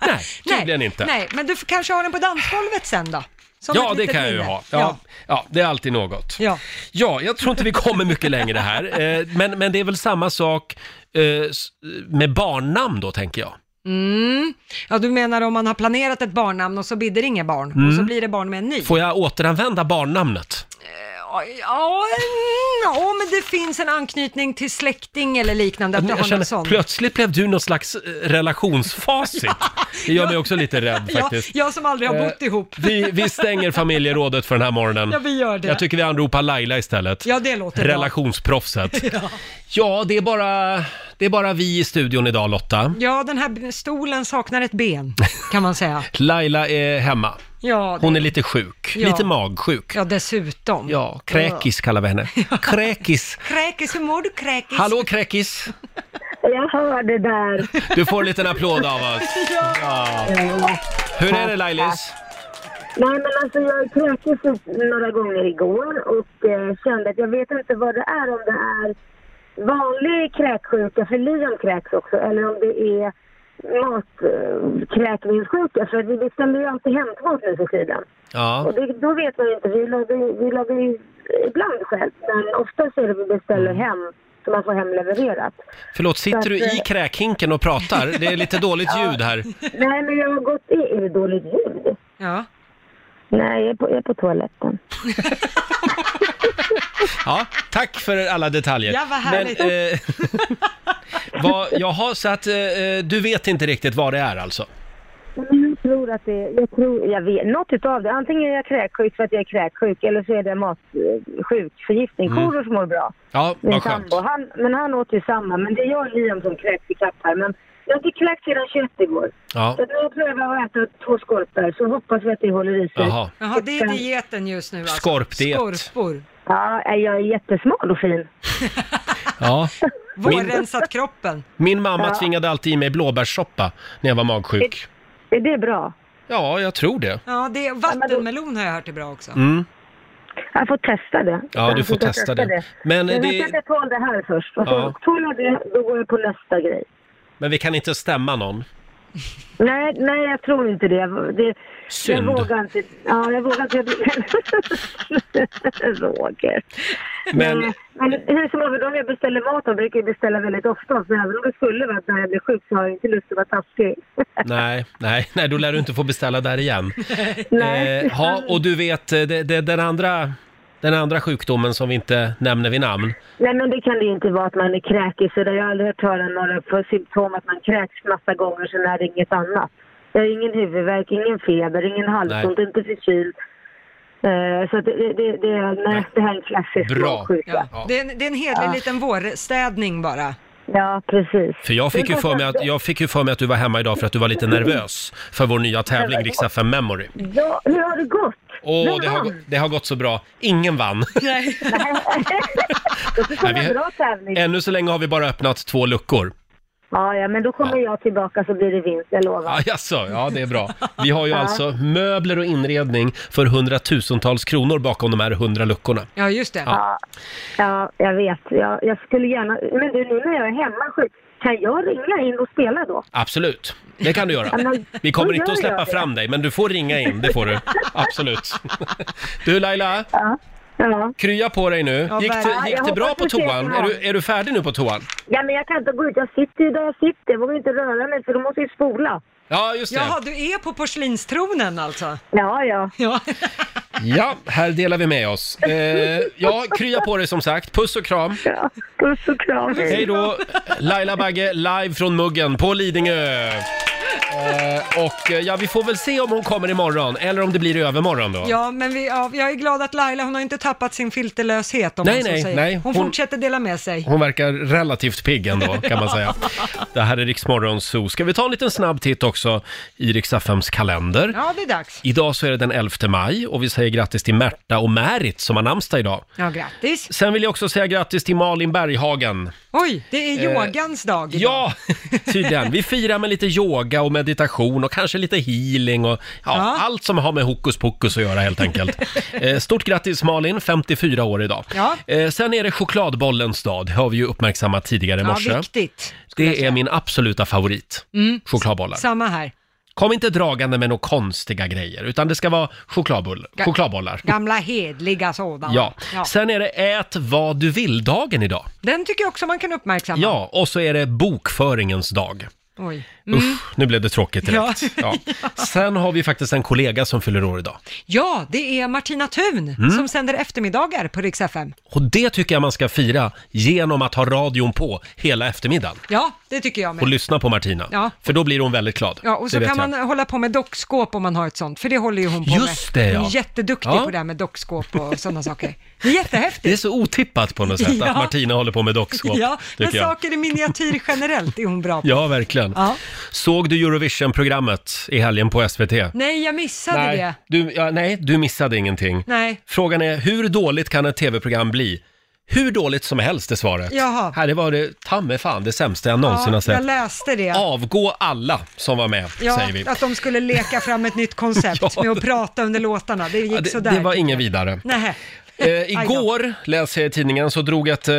[SPEAKER 1] Nej, tydligen inte.
[SPEAKER 2] nej, men du får kanske ha den på dansgolvet sen då? Som
[SPEAKER 1] ja,
[SPEAKER 2] ett
[SPEAKER 1] det
[SPEAKER 2] litet
[SPEAKER 1] kan jag ju
[SPEAKER 2] minne.
[SPEAKER 1] ha. Ja,
[SPEAKER 2] Ja.
[SPEAKER 1] ja. det är alltid något.
[SPEAKER 2] Ja.
[SPEAKER 1] ja, jag tror inte vi kommer mycket längre här. Eh, Men, men det är väl samma sak eh, s- med barnnamn då, tänker jag.
[SPEAKER 2] Mm. ja, du menar om man har planerat ett barnnamn och så bidder inga barn, och
[SPEAKER 1] Mm.
[SPEAKER 2] så blir det barn med en ny?
[SPEAKER 1] Får jag återanvända barnnamnet?
[SPEAKER 2] Ja, ja, mm, ja, men det finns en anknytning till släkting eller liknande, att du
[SPEAKER 1] Jag
[SPEAKER 2] har någon
[SPEAKER 1] känner,
[SPEAKER 2] sån.
[SPEAKER 1] plötsligt blev du någon slags eh, relationsfacit. Det gör mig också lite rädd
[SPEAKER 2] Ja,
[SPEAKER 1] faktiskt.
[SPEAKER 2] jag som aldrig har
[SPEAKER 1] Eh,
[SPEAKER 2] bott ihop.
[SPEAKER 1] Vi, vi stänger familjerådet för den här morgonen.
[SPEAKER 2] Ja, vi gör det.
[SPEAKER 1] Jag tycker vi anropar Laila istället.
[SPEAKER 2] Ja, det låter bra.
[SPEAKER 1] Relationsproffset.
[SPEAKER 2] Ja.
[SPEAKER 1] Ja, det är, bara, det är bara vi i studion idag Lotta.
[SPEAKER 2] ja, den här stolen saknar ett ben, kan man säga.
[SPEAKER 1] Laila är hemma.
[SPEAKER 2] Ja, det-
[SPEAKER 1] Hon är lite sjuk,
[SPEAKER 2] Ja.
[SPEAKER 1] lite magsjuk.
[SPEAKER 2] Ja, dessutom.
[SPEAKER 1] Ja, Kräkis kallar vi henne. Kräkis.
[SPEAKER 2] Kräkis, hur mår du kräkis?
[SPEAKER 1] Hallå kräkis!
[SPEAKER 13] Jag hörde där.
[SPEAKER 1] Du får en liten applåd av oss. Ja. Hur är det Lailis?
[SPEAKER 13] Nej, men alltså jag kräktes upp några gånger igår och eh, kände att jag vet inte vad det är, om det är vanlig kräksjuka, för Liam kräks också, eller om det är matkräkningssjuka, för vi beställer ju alltid hämtmat nu för tiden.
[SPEAKER 1] Ja.
[SPEAKER 13] Och det, då vet man ju inte, vi lagar ju- vi lagar ju ibland själv, men oftast är det vi beställer hem, så man får hemlevererat.
[SPEAKER 1] Förlåt, sitter
[SPEAKER 13] Så
[SPEAKER 1] du
[SPEAKER 13] att,
[SPEAKER 1] i
[SPEAKER 13] eh,
[SPEAKER 1] kräkhinken och pratar? Det är lite dåligt ljud här.
[SPEAKER 13] Nej, men jag har gått i... Är det dåligt ljud?
[SPEAKER 2] Ja.
[SPEAKER 13] Nej, jag är på, jag är på toaletten.
[SPEAKER 1] Ja, tack för alla detaljer.
[SPEAKER 13] Ja, vad härligt.
[SPEAKER 1] Men, eh, vad, jaha, så att eh, du vet inte riktigt vad det är alltså?
[SPEAKER 13] Men Mm, Jag tror att det jag tror, jag vet, något utav det. Antingen är jag kräksjuk för att jag är kräksjuk eller så är det matsjuk, förgiftning.
[SPEAKER 1] Mm.
[SPEAKER 13] Korosh mår bra.
[SPEAKER 1] Ja,
[SPEAKER 13] Min
[SPEAKER 1] vad skönt.
[SPEAKER 13] sambo, han, men han åt ju samma. Men det är jag och Liam som kräks i kapp här. Men jag har inte kräkt sedan 21 igår.
[SPEAKER 1] Ja.
[SPEAKER 13] Så att nu har jag prövat att äta två skorpor så hoppas vi att det håller i sig.
[SPEAKER 1] Jaha.
[SPEAKER 2] Jaha, det är dieten just nu alltså.
[SPEAKER 1] Skorpdiet.
[SPEAKER 2] Skorpor.
[SPEAKER 13] Ja, nej, jag är jättesmal och fin.
[SPEAKER 1] Ja. Min,
[SPEAKER 2] Vårrensat kroppen.
[SPEAKER 1] min mamma
[SPEAKER 13] Ja.
[SPEAKER 1] tvingade alltid i mig blåbärssoppa när jag var magsjuk.
[SPEAKER 13] Är det bra?
[SPEAKER 1] Ja, jag tror det.
[SPEAKER 2] Ja, det är, vattenmelon har jag hört är bra också.
[SPEAKER 1] Mm.
[SPEAKER 13] Jag får testa det.
[SPEAKER 1] Ja, du
[SPEAKER 13] Jag
[SPEAKER 1] får testa det. Men,
[SPEAKER 13] jag vet att
[SPEAKER 1] det,
[SPEAKER 13] jag tål det här först. Och så
[SPEAKER 1] Ja.
[SPEAKER 13] tål jag det, då går jag på nästa grej.
[SPEAKER 1] men vi kan inte stämma någon.
[SPEAKER 13] Nej, nej, jag tror inte det. det
[SPEAKER 1] Synd.
[SPEAKER 13] Jag vågar inte. Ja, jag vågar inte. Roger. Eh,
[SPEAKER 1] Men,
[SPEAKER 13] Men hur som helst, de jag beställer mat av brukar jag beställa väldigt ofta. Så även om det skulle vara att när jag blir sjuk så har jag inte lust att vara taskig.
[SPEAKER 1] nej, nej, nej, då lär du inte få beställa där igen.
[SPEAKER 13] Nej.
[SPEAKER 1] Eh, ja, och du vet, eh, det, det, den, andra, den andra sjukdomen som vi inte nämner vid namn.
[SPEAKER 13] Nej, men det kan det ju inte vara att man är kräkig. Så det har jag aldrig hört höra några för symptom att man kräks massa gånger, sen är det inget annat. Jag har ingen huvudvärk, ingen feber, ingen halsont, inte förkyld. Eh, Så att det, det, det, det, nej, det här är en klassisk magsjuka.
[SPEAKER 2] Ja. Det, är en, det är en hedlig
[SPEAKER 13] Ja.
[SPEAKER 2] liten vårstädning bara.
[SPEAKER 13] Ja, precis.
[SPEAKER 1] För jag fick, ju för mig att, jag fick ju för mig att du var hemma idag för att du var lite nervös för vår nya tävling, Riksdag 5 Memory.
[SPEAKER 13] Ja, hur har det gått?
[SPEAKER 1] Åh,
[SPEAKER 13] Vem
[SPEAKER 1] det har,
[SPEAKER 13] vann?
[SPEAKER 1] gå- det har gått så bra. Ingen vann.
[SPEAKER 2] Nej.
[SPEAKER 13] Då får
[SPEAKER 1] Nej, vi-
[SPEAKER 13] vi... bra tävling.
[SPEAKER 1] Ännu så länge har vi bara öppnat två luckor.
[SPEAKER 13] Ja, ja, men då kommer jag tillbaka så blir det vinst, jag lovar.
[SPEAKER 1] Ah, jaså, ja det är bra. Vi har ju
[SPEAKER 13] Ja.
[SPEAKER 1] alltså möbler och inredning för hundratusentals kronor bakom de här hundra luckorna.
[SPEAKER 2] Ja, just det.
[SPEAKER 1] Ja.
[SPEAKER 13] Ja, ja jag vet. Jag, jag skulle gärna... Men du, nu när jag är hemma sjuk, kan jag ringa in och spela då?
[SPEAKER 1] Absolut, det kan du
[SPEAKER 13] Ja,
[SPEAKER 1] göra.
[SPEAKER 13] men
[SPEAKER 1] Vi kommer
[SPEAKER 13] då
[SPEAKER 1] inte att
[SPEAKER 13] gör jag
[SPEAKER 1] släppa
[SPEAKER 13] det.
[SPEAKER 1] fram dig, men du får ringa in, det får du. Absolut. Du Laila,
[SPEAKER 13] Ja.
[SPEAKER 1] krya på dig nu.
[SPEAKER 13] Ja,
[SPEAKER 1] Gick
[SPEAKER 13] verkligen.
[SPEAKER 1] det, gick
[SPEAKER 13] Jag
[SPEAKER 1] det bra
[SPEAKER 13] hoppas
[SPEAKER 1] på
[SPEAKER 13] vi ses
[SPEAKER 1] toan? Är
[SPEAKER 13] imorgon.
[SPEAKER 1] du, är du färdig nu på toan?
[SPEAKER 13] ja, men jag kan inte gå ut. Jag sitter ju där jag sitter. Jag vågar inte röra mig för då måste jag ju spola.
[SPEAKER 1] Ja, just det.
[SPEAKER 2] Jaha, du är på porslinstronen alltså?
[SPEAKER 13] Ja, ja.
[SPEAKER 2] Ja,
[SPEAKER 1] Ja, här delar vi med oss. Eh, ja, krya på dig som sagt. Puss och kram.
[SPEAKER 13] Puss och kram.
[SPEAKER 1] Hej då! Laila Bagge, live från Muggen på Lidingö. Eh, och eh, ja, vi får väl se om hon kommer imorgon, eller om det blir i övermorgon då.
[SPEAKER 2] ja men vi, ja, jag är glad att Laila, hon har inte tappat sin filterlöshet om
[SPEAKER 1] Nej,
[SPEAKER 2] man så
[SPEAKER 1] nej,
[SPEAKER 2] säger.
[SPEAKER 1] nej.
[SPEAKER 2] Hon,
[SPEAKER 1] Hon-
[SPEAKER 2] fortsätter dela med sig.
[SPEAKER 1] Hon verkar relativt pigg ändå, kan man säga. Det här är Riksmorgon Zoo. Ska vi ta en liten snabb titt också i Riksaffems kalender?
[SPEAKER 2] Ja, det är dags.
[SPEAKER 1] Idag så är det den 11 maj och vi säger grattis till Märta och Märit som har namnsdag idag.
[SPEAKER 2] Ja, grattis.
[SPEAKER 1] Sen vill jag också säga grattis till Malin Berghagen.
[SPEAKER 2] Oj, det är
[SPEAKER 1] Eh,
[SPEAKER 2] yogans dag idag.
[SPEAKER 1] Ja, tydligen. Vi firar med lite yoga och meditation och kanske lite healing och ja, allt som har med hokus pokus att göra helt enkelt. Eh, Stort grattis Malin, 54 år idag.
[SPEAKER 2] Ja.
[SPEAKER 1] Eh, Sen är det chokladbollens dag, det har vi ju uppmärksammat tidigare i
[SPEAKER 2] Ja,
[SPEAKER 1] morse.
[SPEAKER 2] viktigt.
[SPEAKER 1] det är min absoluta favorit,
[SPEAKER 2] Mm.
[SPEAKER 1] chokladbollar.
[SPEAKER 2] Samma här.
[SPEAKER 1] Kom inte dragande med några konstiga grejer, utan det ska vara chokladbull-
[SPEAKER 2] Ga-
[SPEAKER 1] chokladbollar.
[SPEAKER 2] Gamla hedliga sådana.
[SPEAKER 1] Ja.
[SPEAKER 2] Ja.
[SPEAKER 1] Sen är det ät vad du vill-dagen idag.
[SPEAKER 2] Den tycker jag också man kan uppmärksamma.
[SPEAKER 1] Ja, och så är det bokföringens dag.
[SPEAKER 2] Oj.
[SPEAKER 1] Usch, nu blev det tråkigt direkt. Ja. Sen har vi faktiskt en kollega som fyller år idag.
[SPEAKER 2] Ja, det är Martina Thun
[SPEAKER 1] Mm.
[SPEAKER 2] som sänder eftermiddagar på Rix FM.
[SPEAKER 1] Och det tycker jag man ska fira genom att ha radion på hela eftermiddagen
[SPEAKER 2] Ja, det tycker jag med.
[SPEAKER 1] och lyssna på Martina.
[SPEAKER 2] Ja.
[SPEAKER 1] För då blir hon väldigt glad.
[SPEAKER 2] Ja, och så
[SPEAKER 1] det vet
[SPEAKER 2] kan man
[SPEAKER 1] jag.
[SPEAKER 2] hålla på med dockskåp om man har ett sånt, för det håller ju hon på
[SPEAKER 1] Just
[SPEAKER 2] med.
[SPEAKER 1] det, ja.
[SPEAKER 2] Hon är jätteduktig
[SPEAKER 1] Ja.
[SPEAKER 2] på det här med dockskåp och sådana saker. Det är jättehäftigt.
[SPEAKER 1] Det är så otippat på något sätt
[SPEAKER 2] Ja.
[SPEAKER 1] att Martina håller på med dockskåp,
[SPEAKER 2] ja, men
[SPEAKER 1] tycker jag.
[SPEAKER 2] saker i miniatyr generellt är hon bra på.
[SPEAKER 1] Ja, verkligen. verkligen.
[SPEAKER 2] Ja.
[SPEAKER 1] Såg du Eurovision-programmet i helgen på SVT?
[SPEAKER 2] Nej, jag missade
[SPEAKER 1] Nej
[SPEAKER 2] det.
[SPEAKER 1] du, ja, nej, du missade ingenting.
[SPEAKER 2] Nej.
[SPEAKER 1] Frågan är, hur dåligt kan ett tv-program bli? Hur dåligt som helst är svaret.
[SPEAKER 2] Jaha.
[SPEAKER 1] Här, det var det, ta mig fan, det sämsta jag någonsin har
[SPEAKER 2] ja, jag
[SPEAKER 1] sett.
[SPEAKER 2] läste det.
[SPEAKER 1] Avgå alla som var med,
[SPEAKER 2] Ja,
[SPEAKER 1] säger vi.
[SPEAKER 2] att de skulle leka fram ett nytt koncept med att prata under låtarna. Det gick
[SPEAKER 1] Ja, det,
[SPEAKER 2] sådär.
[SPEAKER 1] det var ingen vidare.
[SPEAKER 2] Nähä.
[SPEAKER 1] Eh,
[SPEAKER 2] Aj då.
[SPEAKER 1] igår, läser jag i tidningen, så drog ett eh,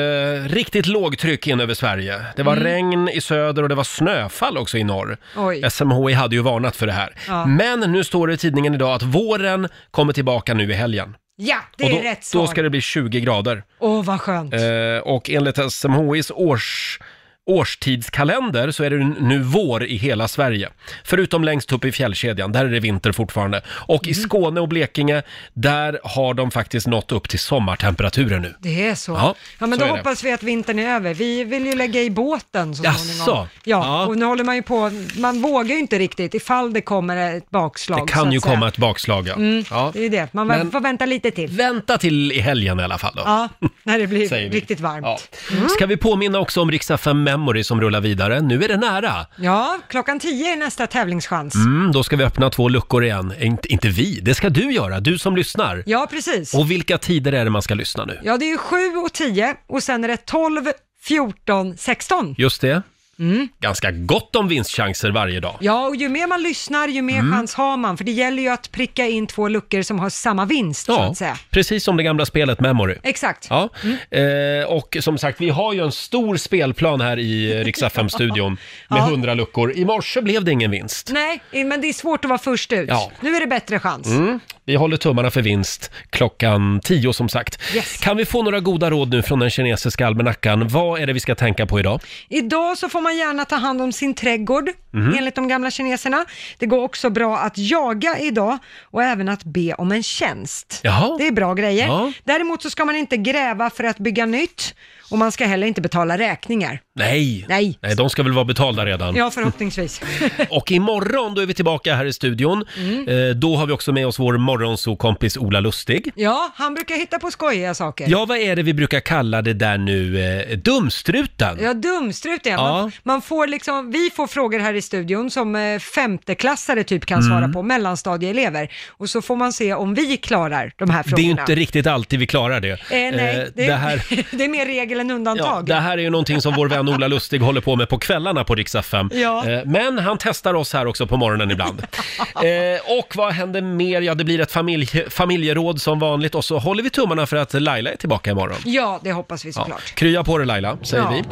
[SPEAKER 1] riktigt lågtryck in över Sverige. Det var
[SPEAKER 2] Mm.
[SPEAKER 1] regn i söder och det var snöfall också i norr.
[SPEAKER 2] Oj.
[SPEAKER 1] SMHI hade ju varnat för det här.
[SPEAKER 2] Ja.
[SPEAKER 1] Men nu står det i tidningen idag att våren kommer tillbaka nu i helgen.
[SPEAKER 2] Ja, det är
[SPEAKER 1] och då,
[SPEAKER 2] rätt svar.
[SPEAKER 1] då ska det bli 20 grader.
[SPEAKER 2] Åh, vad skönt.
[SPEAKER 1] Eh, och enligt SMHIs års, årstidskalender så är det nu vår i hela Sverige. Förutom längst upp i fjällkedjan, där är det vinter fortfarande. Och
[SPEAKER 2] Mm.
[SPEAKER 1] i Skåne och Blekinge, där har de faktiskt nått upp till sommartemperaturer nu.
[SPEAKER 2] Det är så.
[SPEAKER 1] Ja,
[SPEAKER 2] Ja, men
[SPEAKER 1] så
[SPEAKER 2] då
[SPEAKER 1] är det.
[SPEAKER 2] hoppas vi att vintern är över. Vi vill ju lägga i båten så
[SPEAKER 1] Jaså?
[SPEAKER 2] småningom. Ja, och nu håller man ju på, man vågar ju inte riktigt ifall det kommer ett bakslag.
[SPEAKER 1] Det
[SPEAKER 2] så
[SPEAKER 1] kan
[SPEAKER 2] att
[SPEAKER 1] ju
[SPEAKER 2] säga.
[SPEAKER 1] komma ett bakslag, ja.
[SPEAKER 2] Mm,
[SPEAKER 1] ja.
[SPEAKER 2] Det är det, man
[SPEAKER 1] Men-
[SPEAKER 2] får vänta lite till.
[SPEAKER 1] Vänta till i helgen i alla fall då.
[SPEAKER 2] Ja, när det blir
[SPEAKER 1] Säger vi.
[SPEAKER 2] riktigt varmt. Mm. Ja.
[SPEAKER 1] Ska vi påminna också om Riksa 5 Memory som rullar vidare? Nu är det nära!
[SPEAKER 2] ja, klockan 10 är nästa tävlingschans.
[SPEAKER 1] Mm, då ska vi öppna två luckor igen. Inte, inte vi, det ska du göra, du som lyssnar.
[SPEAKER 2] Ja, precis.
[SPEAKER 1] Och vilka tider är det man ska lyssna nu?
[SPEAKER 2] Ja, det är ju 7 och 10 och sen är det 12, 14, 16.
[SPEAKER 1] Just det.
[SPEAKER 2] Mm.
[SPEAKER 1] Ganska gott om vinstchanser varje dag.
[SPEAKER 2] Ja, och ju mer man lyssnar, ju mer
[SPEAKER 1] Mm.
[SPEAKER 2] chans har man. För det gäller ju att pricka in två luckor som har samma vinst, så
[SPEAKER 1] Ja,
[SPEAKER 2] att säga. Mm.
[SPEAKER 1] precis som det gamla spelet Memory.
[SPEAKER 2] Exakt.
[SPEAKER 1] Ja, eh, och som sagt, vi har ju en stor spelplan här i Rix FM-studion med
[SPEAKER 2] Ja.
[SPEAKER 1] hundra luckor. I morse blev det ingen vinst.
[SPEAKER 2] Nej, men det är svårt att vara först ut.
[SPEAKER 1] Ja.
[SPEAKER 2] Nu är det bättre chans.
[SPEAKER 1] Mm. Vi håller tummarna för vinst klockan tio som sagt. Kan vi få några goda råd nu från den kinesiska almanackan? Vad är det vi ska tänka på idag?
[SPEAKER 2] Idag så får man gärna ta hand om sin trädgård,
[SPEAKER 1] Mhm.
[SPEAKER 2] enligt de gamla kineserna. Det går också bra att jaga idag och även att be om en tjänst.
[SPEAKER 1] Jaha.
[SPEAKER 2] Det är bra grejer.
[SPEAKER 1] Ja.
[SPEAKER 2] Däremot så ska man inte gräva för att bygga nytt och man ska heller inte betala räkningar.
[SPEAKER 1] Nej.
[SPEAKER 2] Nej.
[SPEAKER 1] Nej, de ska väl vara betalda redan.
[SPEAKER 2] Ja, förhoppningsvis.
[SPEAKER 1] Och imorgon då är vi tillbaka här i studion.
[SPEAKER 2] Mm.
[SPEAKER 1] Eh, då har vi också med oss vår morgonsokompis Ola Lustig.
[SPEAKER 2] Ja, han brukar hitta på skojiga saker.
[SPEAKER 1] Ja, vad är det vi brukar kalla det där nu? Eh, dumstruten?
[SPEAKER 2] Ja, dumstrut är man.
[SPEAKER 1] Ja.
[SPEAKER 2] man får liksom, Vi får frågor här i studion som eh, femteklassare typ kan
[SPEAKER 1] Mm.
[SPEAKER 2] svara på, mellanstadieelever. Och så får man se om vi klarar de här
[SPEAKER 1] det är ju
[SPEAKER 2] frågorna.
[SPEAKER 1] inte riktigt alltid vi klarar det.
[SPEAKER 2] Eh,
[SPEAKER 1] Eh,
[SPEAKER 2] nej, det,
[SPEAKER 1] det här...
[SPEAKER 2] det är mer regel än
[SPEAKER 1] Ja,
[SPEAKER 2] undantag.
[SPEAKER 1] det här är ju någonting som vår vän Ola Lustig håller på med på kvällarna på Rix FM.
[SPEAKER 2] Ja.
[SPEAKER 1] Eh, Men han testar oss här också på morgonen ibland. Eh, och vad händer mer? Ja, det blir ett familje, familjeråd som vanligt och så håller vi tummarna för att Laila är tillbaka imorgon.
[SPEAKER 2] Ja, det hoppas vi såklart.
[SPEAKER 1] Krya på dig Laila, säger
[SPEAKER 2] Ja.
[SPEAKER 1] vi.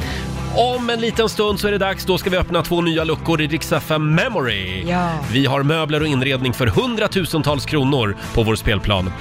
[SPEAKER 1] Om en liten stund så är det dags, då ska vi öppna två nya luckor i Rix FM Memory.
[SPEAKER 2] Ja.
[SPEAKER 1] Vi har möbler och inredning för hundratusentals kronor på vår spelplan.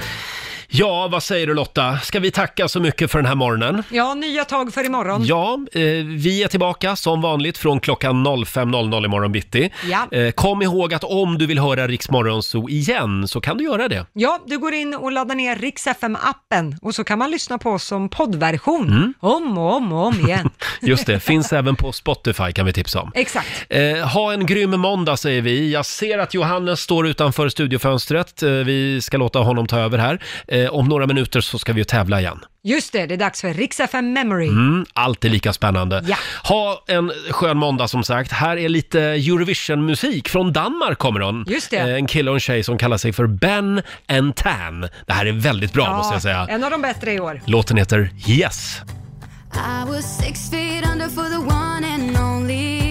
[SPEAKER 1] Ja, vad säger du Lotta? Ska vi tacka så mycket för den här morgonen?
[SPEAKER 2] Ja, nya tag för imorgon.
[SPEAKER 1] Ja, eh, vi är tillbaka som vanligt från klockan 05.00 imorgon bitti.
[SPEAKER 2] Ja.
[SPEAKER 1] Eh, kom ihåg att om du vill höra Rix Morgonzoo igen så kan du göra det.
[SPEAKER 2] Ja, du går in och laddar ner Rix FM-appen och så kan man lyssna på oss som poddversion
[SPEAKER 1] Mm.
[SPEAKER 2] om och om och om igen.
[SPEAKER 1] Just det, finns även på Spotify kan vi tipsa om.
[SPEAKER 2] Exakt.
[SPEAKER 1] Eh, ha en grym måndag säger vi. Jag ser att Johannes står utanför studiofönstret. Eh, vi ska låta honom ta över här. Eh, om några minuter så ska vi ju tävla igen.
[SPEAKER 2] Just det, det är dags för Rix FM Memory.
[SPEAKER 1] Mm, allt är lika spännande.
[SPEAKER 2] Ja.
[SPEAKER 1] Ha en skön måndag som sagt. Här är lite Eurovision-musik. Från Danmark kommer hon.
[SPEAKER 2] Just det.
[SPEAKER 1] Eh, En kille och en tjej som kallar sig för Ben and Tan. Det här är väldigt bra måste jag säga.
[SPEAKER 2] En av de bättre i år.
[SPEAKER 1] Låten heter Yes.
[SPEAKER 14] I was six feet under for the one and only.